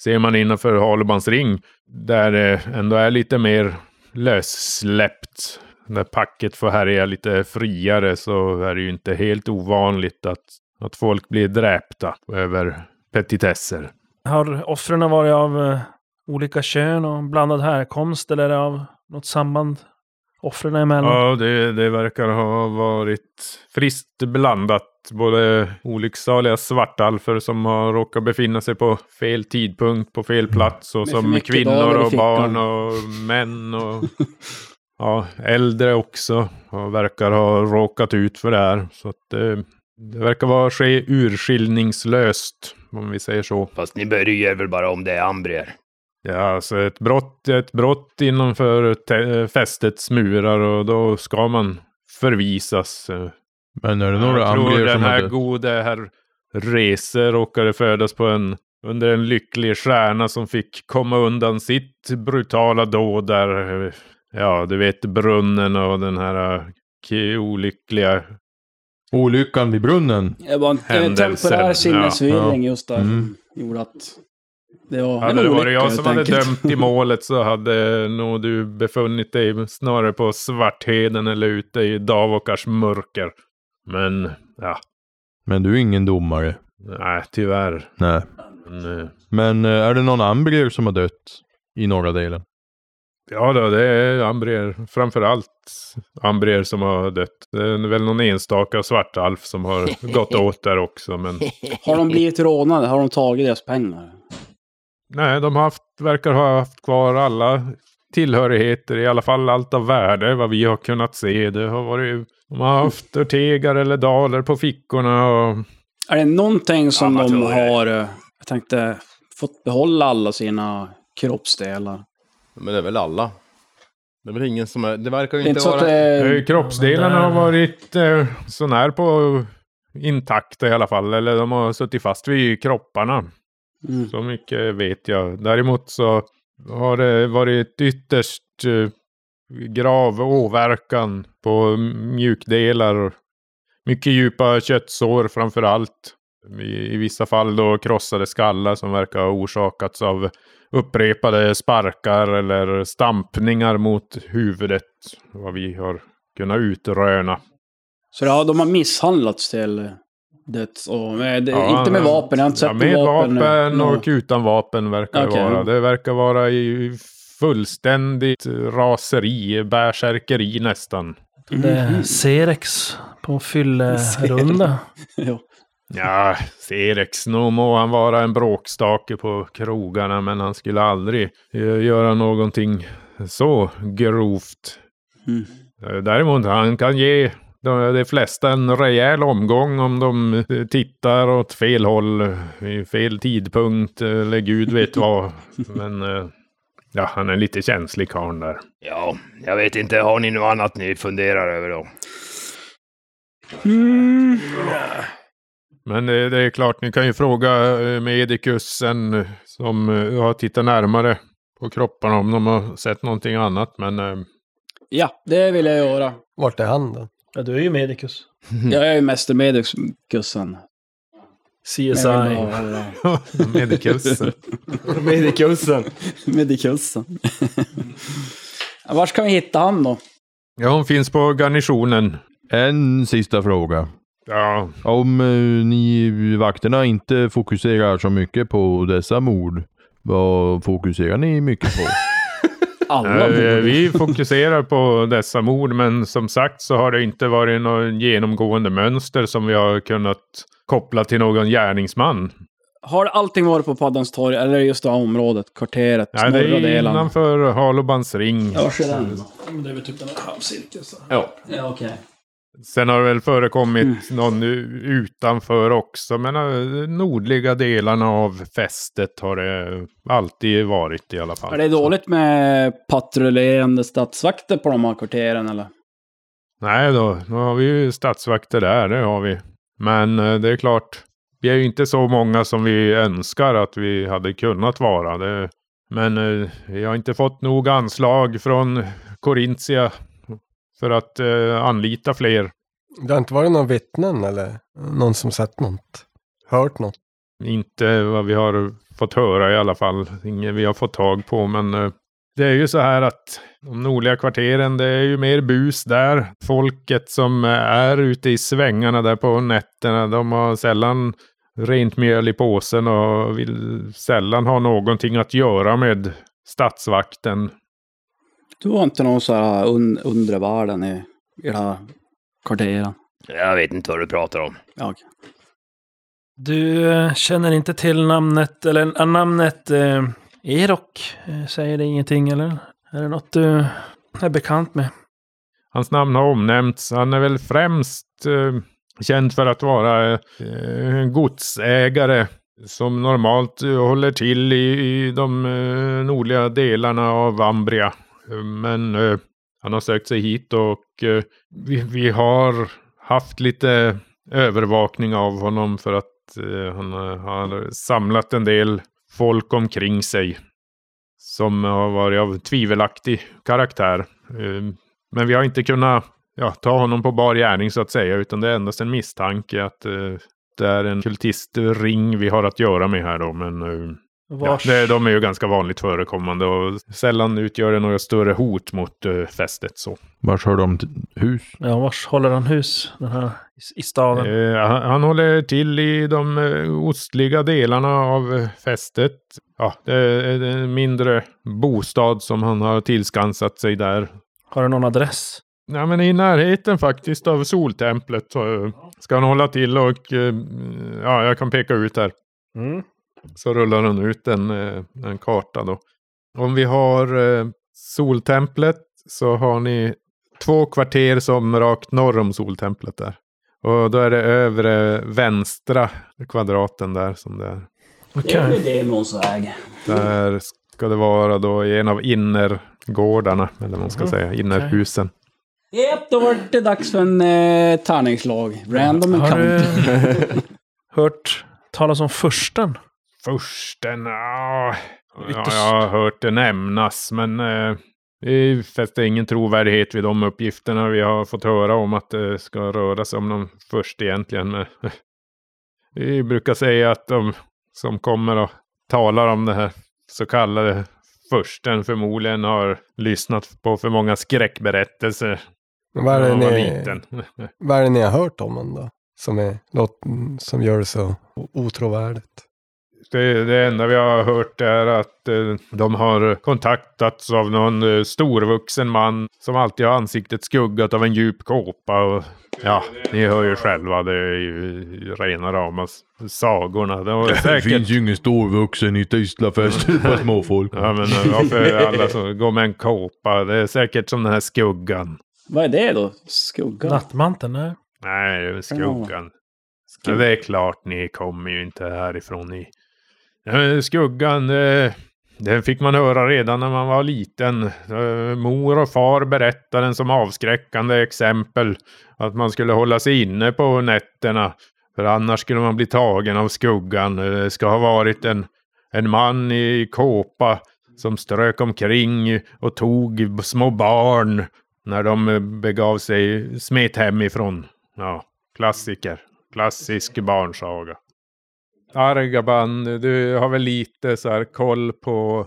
[SPEAKER 3] ser man innanför Halebans ring, där det ändå är lite mer lössläppt, när packet får härja lite friare, så är det ju inte helt ovanligt att, att folk blir dräpta över petitesser.
[SPEAKER 4] Har offren varit av eh, olika kön och blandad härkomst eller är det av något samband offren emellan?
[SPEAKER 3] Ja, det, det verkar ha varit friskt blandat. Både olycksaliga svartalfer som har råkat befinna sig på fel tidpunkt, på fel plats, och
[SPEAKER 6] Med Mm. för
[SPEAKER 3] som
[SPEAKER 6] mycket dagar i
[SPEAKER 3] kvinnor och
[SPEAKER 6] fickan.
[SPEAKER 3] barn och män och ja, äldre också. Och verkar ha råkat ut för det här. Så att det, det verkar vara ske urskiljningslöst, om vi säger så.
[SPEAKER 8] Fast ni börjar väl bara om det är ambrier?
[SPEAKER 3] Ja, alltså ett brott är ett brott innanför te- fästets murar och då ska man förvisas.
[SPEAKER 9] Men är det några
[SPEAKER 3] Jag tror
[SPEAKER 9] ambrier
[SPEAKER 3] den
[SPEAKER 9] som
[SPEAKER 3] här
[SPEAKER 9] hade...
[SPEAKER 3] gode herr Rese råkade födas på en, under en lycklig stjärna som fick komma undan sitt brutala dåd där, eh, ja du vet brunnen och den här eh, ki- olyckliga
[SPEAKER 9] Olyckan vid brunnen?
[SPEAKER 6] det var en en
[SPEAKER 3] Händelser,
[SPEAKER 6] temporär
[SPEAKER 3] ja.
[SPEAKER 6] sinnesförvirring just där.
[SPEAKER 9] Mm.
[SPEAKER 6] som Gjorde att det var
[SPEAKER 3] Hade det varit jag
[SPEAKER 6] helt
[SPEAKER 3] som hade
[SPEAKER 6] enkelt.
[SPEAKER 3] dömt i målet så hade nog du befunnit dig snarare på Svartheden eller ute i Davokars mörker. Men, ja,
[SPEAKER 9] Men du är ingen domare.
[SPEAKER 3] nej, tyvärr.
[SPEAKER 9] Nej.
[SPEAKER 3] Men, eh,
[SPEAKER 9] Men eh, är det någon ambrier som har dött i norra delen?
[SPEAKER 3] ja då, det är Ambrier, framför allt Ambrier som har dött. Det är väl någon enstaka svartalf som har gått åt där också, men
[SPEAKER 6] Har de blivit rånade? Har de tagit deras pengar?
[SPEAKER 3] nej, de har haft, verkar ha haft kvar alla tillhörigheter, i alla fall allt av värde, vad vi har kunnat se. Det har varit, de har haft örtegar eller daler på fickorna och
[SPEAKER 6] Är det någonting som de
[SPEAKER 8] Amatörer.
[SPEAKER 6] har, eh, jag tänkte, fått behålla alla sina kroppsdelar?
[SPEAKER 10] Men det är väl alla? Det är väl ingen som är... Det verkar ju
[SPEAKER 6] Det är
[SPEAKER 10] inte
[SPEAKER 6] inte så att
[SPEAKER 10] vara...
[SPEAKER 6] det
[SPEAKER 3] Eh,
[SPEAKER 6] är
[SPEAKER 3] Kroppsdelarna har
[SPEAKER 4] där-
[SPEAKER 3] varit eh, sånär på intakta i alla fall. Eller de har suttit fast vid kropparna.
[SPEAKER 6] Mm.
[SPEAKER 3] Så mycket vet jag. Däremot så har det varit ytterst eh, grav åverkan på mjukdelar. Mycket djupa köttsår framför allt. I, I vissa fall då krossade skallar som verkar ha orsakats av upprepade sparkar eller stampningar mot huvudet. Vad vi har kunnat utröna.
[SPEAKER 6] Så det har, de har misshandlats till döds? Och, nej, Eh, det,
[SPEAKER 3] Ja,
[SPEAKER 6] inte med
[SPEAKER 3] men-
[SPEAKER 6] vapen, jag har inte sett
[SPEAKER 3] Ja, med vapen,
[SPEAKER 6] Ja.
[SPEAKER 3] och utan vapen verkar
[SPEAKER 6] Okej.
[SPEAKER 3] det vara. Det verkar vara i fullständigt raseri, bärsärkeri nästan.
[SPEAKER 4] Det är Serex på fyllerunda.
[SPEAKER 6] Ja.
[SPEAKER 3] Ja, Serex, nog må han vara en bråkstake på krogarna, men han skulle aldrig eh, göra någonting så grovt.
[SPEAKER 6] Mm.
[SPEAKER 3] Eh, Däremot, han kan ge de, de flesta en rejäl omgång om de eh, tittar åt fel håll, eh, vid fel tidpunkt eh, eller gud vet vad. Men eh, ja, han är lite känslig karln där.
[SPEAKER 8] Ja, jag vet inte. Har ni något annat ni funderar över då?
[SPEAKER 3] Men eh, det, det är klart, ni kan ju fråga eh, medikusen eh, som eh, har tittat närmare på kropparna om de har sett någonting annat. Men eh,
[SPEAKER 6] ja, det vill jag göra.
[SPEAKER 7] Vart är han då?
[SPEAKER 4] Ja, du är ju medicus.
[SPEAKER 3] Mhm.
[SPEAKER 6] Jag är ju mästermedikussen.
[SPEAKER 4] CSI.
[SPEAKER 3] medikusen.
[SPEAKER 6] Medikussen. Medikussen. Var ska vi hitta han då?
[SPEAKER 3] Ja, hon finns på garnisonen.
[SPEAKER 9] En sista fråga.
[SPEAKER 3] Ja,
[SPEAKER 9] Om eh, ni vakterna inte fokuserar så mycket på dessa mord, vad fokuserar ni mycket på?
[SPEAKER 3] Eh,
[SPEAKER 6] Alla
[SPEAKER 3] Vi fokuserar på dessa mord, men som sagt så har det inte varit något genomgående mönster som vi har kunnat koppla till någon gärningsman.
[SPEAKER 6] Har allting varit på Paddans torg eller är det just det här området? Kvarteret?
[SPEAKER 3] Nej, det
[SPEAKER 6] norra
[SPEAKER 3] är
[SPEAKER 6] delen?
[SPEAKER 3] innanför Halobans ring.
[SPEAKER 6] Ja, var ser den? Det är väl typ en halvcirkel så.
[SPEAKER 2] Ja.
[SPEAKER 6] Ja, okej.
[SPEAKER 3] Sen har det väl förekommit
[SPEAKER 6] Mm.
[SPEAKER 3] någon u- utanför också, men eh, nordliga delarna av fästet har det alltid varit i alla fall.
[SPEAKER 6] Är det dåligt med patrullerande statsvakter på de här kvarteren eller?
[SPEAKER 3] Nej då, nu har vi ju statsvakter där, det har vi. Men eh, det är klart, vi är ju inte så många som vi önskar att vi hade kunnat vara. Det, men eh, vi har inte fått nog anslag från Corinthia för att eh, anlita fler.
[SPEAKER 7] Det har inte varit någon vittnen eller någon som sett något? Hört något?
[SPEAKER 3] Inte vad vi har fått höra i alla fall. Inget vi har fått tag på. Men eh, det är ju så här att de nordliga kvarteren, det är ju mer bus där. Folket som eh, är ute i svängarna där på nätterna, de har sällan rent mjöl i påsen och vill sällan ha någonting att göra med statsvakten.
[SPEAKER 6] Du var inte någon så här un undre världen i, i det här kvarteren?
[SPEAKER 8] Jag vet inte vad du pratar om.
[SPEAKER 6] Ja, okej.
[SPEAKER 4] Du eh, känner inte till namnet, eller äh, namnet eh, Erok? Eh, säger det ingenting, eller? Är det något du är bekant med?
[SPEAKER 3] Hans namn har omnämnts. Han är väl främst eh, känd för att vara eh, en godsägare som normalt eh, håller till i, i de eh, nordliga delarna av Ambria. Eh, Men eh, han har sökt sig hit och eh, vi, vi har haft lite övervakning av honom för att eh, han eh, har samlat en del folk omkring sig som har varit av tvivelaktig karaktär. Eh, men vi har inte kunnat ja, ta honom på bar gärning så att säga, utan det är endast en misstanke att eh, det är en kultistring vi har att göra med här då. Men eh, ja,
[SPEAKER 4] Vars,
[SPEAKER 3] det, de är ju ganska vanligt förekommande och sällan utgör det några större hot mot eh, fästet. Så.
[SPEAKER 9] Vars har de t- hus?
[SPEAKER 4] ja, vars håller han hus den här, i- i staden?
[SPEAKER 3] Eh, han, han håller till i de eh, ostliga delarna av eh, fästet. Ja, det är en mindre bostad som han har tillskansat sig där
[SPEAKER 4] Har du någon adress?
[SPEAKER 3] Nej, men i närheten faktiskt av soltemplet eh, ska han hålla till och eh, ja, jag kan peka ut här.
[SPEAKER 4] Mm.
[SPEAKER 3] Så rullar han ut en, eh, en karta då. Om vi har eh, soltemplet så har ni två kvarter som rakt norr om soltemplet där. Och då är det övre vänstra kvadraten där som det är.
[SPEAKER 4] Okej.
[SPEAKER 6] demons väg.
[SPEAKER 3] Där ska det vara då i en av innergårdarna, eller vad man ska säga, innerhusen.
[SPEAKER 6] Japp, då var det dags för en eh, tärningslag. Random
[SPEAKER 4] Har
[SPEAKER 6] encounter.
[SPEAKER 4] du hört talas om fursten?
[SPEAKER 3] Försten, ja.
[SPEAKER 4] Lite
[SPEAKER 3] ja jag har hört det nämnas, men eh, vi fäster ingen trovärdighet vid de uppgifterna vi har fått höra om att det ska röra sig om någon först egentligen. Men, eh, vi brukar säga att de som kommer och talar om det här så kallade försten förmodligen har lyssnat på för många skräckberättelser
[SPEAKER 7] Men vad, är
[SPEAKER 3] när
[SPEAKER 7] det
[SPEAKER 3] de var
[SPEAKER 7] ni,
[SPEAKER 3] liten.
[SPEAKER 7] vad är det ni har hört om honom då? Som, är, låt- som gör det så o- otrovärdigt.
[SPEAKER 3] Det, det enda vi har hört är att eh, de har kontaktats av någon eh, storvuxen man som alltid har ansiktet skuggat av en djup kåpa. Och, ja, ni hör ju själva, det är ju rena rama s- sagorna. Det var
[SPEAKER 9] Det
[SPEAKER 3] säkert...
[SPEAKER 9] finns ju ingen storvuxen i Tislafest på småfolk.
[SPEAKER 3] Ja, men eh, varför är alla som går med en kåpa? Det är säkert som den här skuggan.
[SPEAKER 6] Vad är det då? Skugga?
[SPEAKER 4] Nattmanteln? Nej.
[SPEAKER 3] Nej, det är skuggan. Ja, det är klart, ni kommer ju inte härifrån ni. Ja, men Skuggan, eh, den fick man höra redan när man var liten. Eh, Mor och far berättade den som avskräckande exempel. Att man skulle hålla sig inne på nätterna. För annars skulle man bli tagen av skuggan. Eh, Det ska ha varit en, en man i kåpa som strök omkring och tog små barn när de eh, begav sig, smet hemifrån. Ja, klassiker. Klassisk barnsaga. Argaban, du har väl lite så här koll på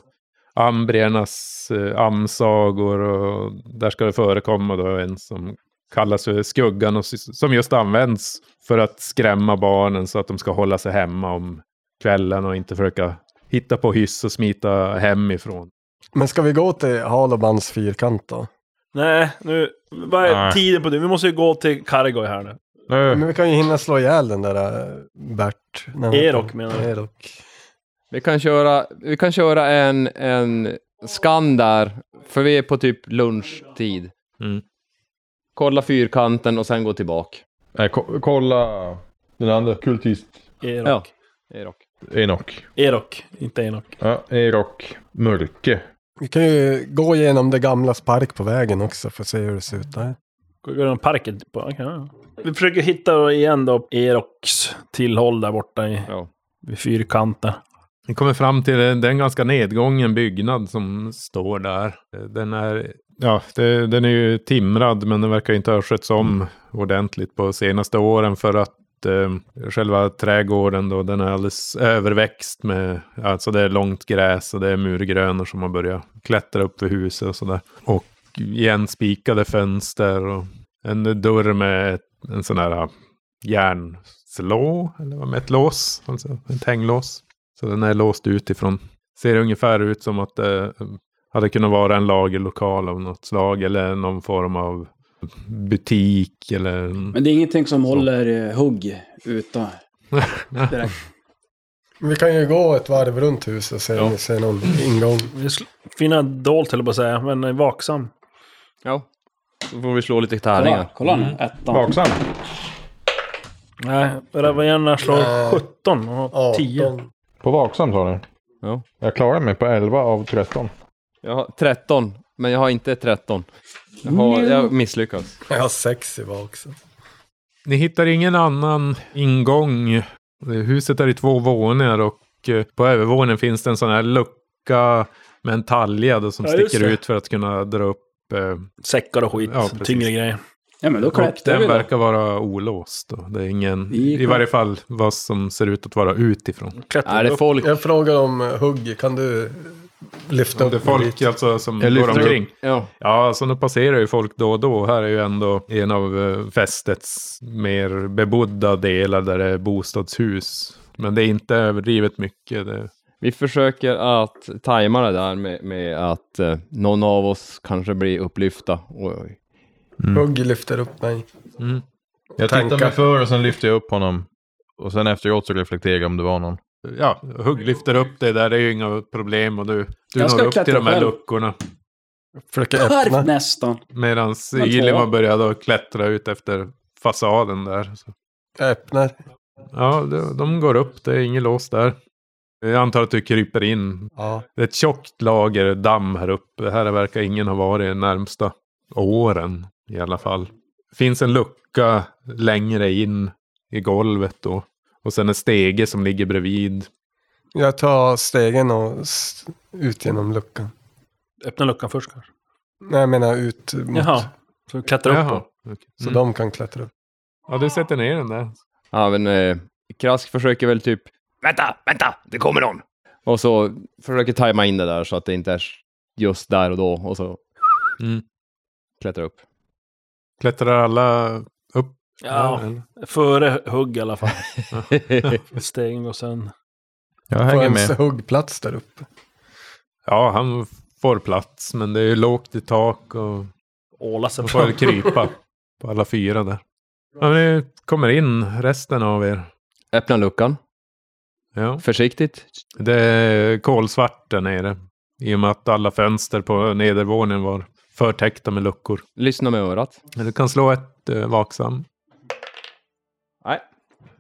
[SPEAKER 3] ambriernas eh, amsagor och där ska det förekomma då en som kallas för skuggan och s- som just används för att skrämma barnen så att de ska hålla sig hemma om kvällen och inte försöka hitta på hyss och smita hemifrån.
[SPEAKER 7] Men ska vi gå till Halobans fyrkant då?
[SPEAKER 4] Nej, nu... Vad är
[SPEAKER 9] Nej.
[SPEAKER 4] tiden på det? Vi måste ju gå till Kargoj här nu.
[SPEAKER 9] Nej.
[SPEAKER 7] Men vi kan ju hinna slå ihjäl den där eh, Bert. när han-
[SPEAKER 4] Erok menar du?
[SPEAKER 7] Erok.
[SPEAKER 5] Vi kan köra, vi kan köra en, en skan där, för vi är på typ lunchtid.
[SPEAKER 9] Mm.
[SPEAKER 5] Kolla fyrkanten och sen gå tillbaka.
[SPEAKER 9] Nej, ko- kolla den andra kultist.
[SPEAKER 4] Erok.
[SPEAKER 5] Ja. Erok.
[SPEAKER 9] Enok.
[SPEAKER 4] Erok, inte Enok.
[SPEAKER 9] Ja, Erok. Mörke.
[SPEAKER 7] Vi kan ju gå igenom det gamla park på vägen också för att se hur det ser ut där.
[SPEAKER 4] Går genom parken. typ På. okej, ja. Vi försöker hitta då igen då Eroks tillhåll där borta i,
[SPEAKER 5] Ja.
[SPEAKER 4] vid fyrkanten.
[SPEAKER 3] Vi kommer fram till en, det är en ganska nedgången byggnad som står där. Den är, ja, det, den är ju timrad men den verkar inte ha skötts om ordentligt på senaste åren för att eh, själva trädgården då, den är alldeles överväxt med, alltså det är långt gräs och det är murgrönor som har börjat klättra upp för huset och sådär. Och igenspikade fönster och en dörr med en sån här ah, järnslå, eller vad med ett lås, alltså ett hänglås. Så den är låst utifrån. Ser ungefär ut som att det hade kunnat vara en lagerlokal av något slag eller någon form av butik eller...
[SPEAKER 6] Men det är ingenting som
[SPEAKER 3] Så.
[SPEAKER 6] håller eh, hugg utan.
[SPEAKER 7] Vi kan ju gå ett varv runt huset och se om
[SPEAKER 3] Ja.
[SPEAKER 7] vi ser någon ingång.
[SPEAKER 4] Vi sl- Finna dolt höll jag på att säga, men är vaksam.
[SPEAKER 5] Ja. Då får vi slå lite
[SPEAKER 6] Kolla,
[SPEAKER 5] tärningar.
[SPEAKER 6] kolla
[SPEAKER 3] Mm.
[SPEAKER 6] nu. Ettan.
[SPEAKER 9] Vaksam.
[SPEAKER 4] Nej, Ravena slår
[SPEAKER 7] Nej.
[SPEAKER 4] 17 och har 10.
[SPEAKER 7] 18.
[SPEAKER 9] På vaksam sa du?
[SPEAKER 5] Ja.
[SPEAKER 9] Jag klarar mig på 11 av 13.
[SPEAKER 5] Jag har 13, men jag har inte 13. Jag, har, jag misslyckas.
[SPEAKER 7] Jag har sex i bak också.
[SPEAKER 3] Ni hittar ingen annan ingång. Huset är i två våningar och eh, på övervåningen finns det en sån här lucka med en talja då som
[SPEAKER 4] Ja, just
[SPEAKER 3] sticker
[SPEAKER 4] det.
[SPEAKER 3] ut för att kunna dra upp. eh,
[SPEAKER 4] Säckar och skit.
[SPEAKER 3] Ja, precis.
[SPEAKER 4] tyngre grejer.
[SPEAKER 6] Ja, men då
[SPEAKER 3] Och
[SPEAKER 6] klättrar vi
[SPEAKER 3] den
[SPEAKER 6] då.
[SPEAKER 3] verkar vara olåst. Då. Det är ingen,
[SPEAKER 6] Vi
[SPEAKER 3] i varje fall vad som ser ut att vara utifrån.
[SPEAKER 4] Klättrar
[SPEAKER 5] Är det
[SPEAKER 4] upp.
[SPEAKER 5] folk?
[SPEAKER 7] Jag frågar om eh, hugg, kan du eh, lyfta
[SPEAKER 3] Ja, det är
[SPEAKER 7] upp
[SPEAKER 3] folk alltså som går
[SPEAKER 9] Jag lyfter upp.
[SPEAKER 3] omkring.
[SPEAKER 5] Ja.
[SPEAKER 3] Ja, alltså nu passerar ju folk då och då. Här är ju ändå en av eh, fästets mer bebodda delar där det är bostadshus. Men det är inte överdrivet mycket. Det...
[SPEAKER 5] Vi försöker att tajma det där med, med att eh, någon av oss kanske blir upplyfta. Oj, oj.
[SPEAKER 3] Mm.
[SPEAKER 7] Hugg lyfter upp mig.
[SPEAKER 9] Jag
[SPEAKER 7] Tankar.
[SPEAKER 9] tittar mig för och sen lyfter jag upp honom. Och sen efteråt så reflekterar jag om det var någon.
[SPEAKER 3] Ja, hugg lyfter upp det där, det är ju inga problem. Och du, du
[SPEAKER 6] Jag ska
[SPEAKER 3] når upp till
[SPEAKER 6] klättra
[SPEAKER 3] de här
[SPEAKER 6] själv.
[SPEAKER 3] luckorna.
[SPEAKER 7] Försöker
[SPEAKER 6] Perf,
[SPEAKER 7] öppna.
[SPEAKER 6] nästan.
[SPEAKER 3] Medan
[SPEAKER 6] Men två.
[SPEAKER 3] Gillimar börjar då klättra ut efter fasaden där. Så.
[SPEAKER 7] Jag öppnar.
[SPEAKER 3] Ja, de, de går upp, det är inget lås där. Jag antar att du kryper in
[SPEAKER 7] Ja.
[SPEAKER 3] Det är ett tjockt lager damm här uppe. Här verkar ingen ha varit de närmsta åren i alla fall. Finns en lucka längre in i golvet då. Och sen en stege som ligger bredvid.
[SPEAKER 7] Jag tar stegen och s- ut genom luckan.
[SPEAKER 4] Öppna luckan först kanske.
[SPEAKER 7] Nej, jag menar ut mot...
[SPEAKER 3] Mm.
[SPEAKER 4] Jaha. Så vi klättrar upp då.
[SPEAKER 3] okej.
[SPEAKER 7] Så
[SPEAKER 3] Mm.
[SPEAKER 7] de kan klättra upp.
[SPEAKER 3] Ja, du sätter ner den där.
[SPEAKER 5] Ja, men eh, Krask försöker väl typ
[SPEAKER 8] Vänta, vänta, det kommer någon.
[SPEAKER 5] och så försöker tajma in det där så att det inte är just där och då och så
[SPEAKER 3] Mm.
[SPEAKER 5] klättra upp.
[SPEAKER 3] Klättrar alla upp?
[SPEAKER 4] Ja,
[SPEAKER 3] eller?
[SPEAKER 4] före hugg i alla fall. Stegen och sen...
[SPEAKER 9] Jag
[SPEAKER 7] Får
[SPEAKER 9] hänger
[SPEAKER 7] en
[SPEAKER 9] med.
[SPEAKER 7] huggplats där uppe.
[SPEAKER 3] Ja, han får plats, men det är ju lågt i tak och
[SPEAKER 4] Åla sig
[SPEAKER 3] han får väl
[SPEAKER 4] fram.
[SPEAKER 3] krypa på alla fyra där. Ja, men ni kommer in, resten av er.
[SPEAKER 5] Öppna luckan,
[SPEAKER 3] Ja.
[SPEAKER 5] försiktigt.
[SPEAKER 3] Det är kolsvart där nere. I och med att alla fönster på nedervåningen var förtäckta med luckor.
[SPEAKER 5] Lyssna med örat.
[SPEAKER 3] Men Du kan slå ett eh, vaksam.
[SPEAKER 5] Nej,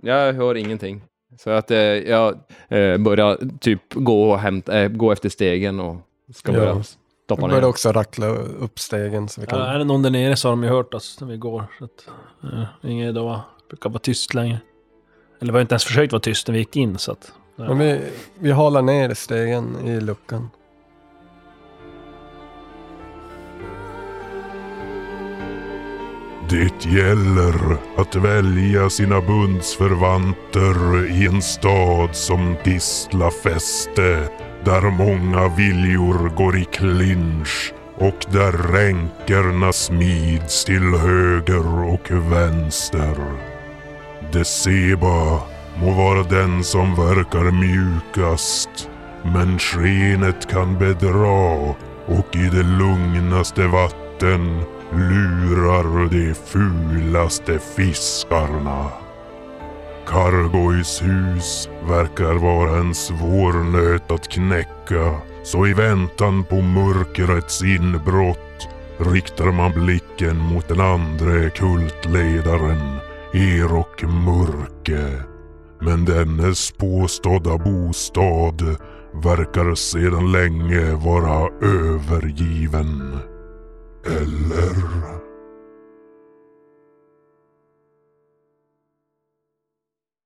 [SPEAKER 5] jag hör ingenting. Så att eh, jag eh, börjar typ gå, och hämta, eh, gå efter stegen och ska
[SPEAKER 7] Ja.
[SPEAKER 5] börja stoppa
[SPEAKER 7] Jag började
[SPEAKER 5] ner.
[SPEAKER 7] också rackla upp stegen så vi
[SPEAKER 4] Ja,
[SPEAKER 7] kan...
[SPEAKER 4] är det någon där nere så har de ju hört oss när vi går. Så att, ja, ingen idé att vara- brukar vara tyst längre. Eller vi har inte ens försökt vara tyst när vi gick in så att... ja.
[SPEAKER 7] Men vi, vi halar ner stegen i luckan.
[SPEAKER 1] Det gäller att välja sina bundsförvanter i en stad som Tisla fäste där många viljor går i clinch och där ränkerna smids till höger och vänster. Deceba må vara den som verkar mjukast, men skenet kan bedra och i det lugnaste vatten lurar de fulaste fiskarna. Cargoys hus verkar vara en svår nöt att knäcka, så i väntan på mörkrets inbrott riktar man blicken mot den andra kultledaren, Erok Mörke. Men dennes påstådda bostad verkar sedan länge vara övergiven. Eller?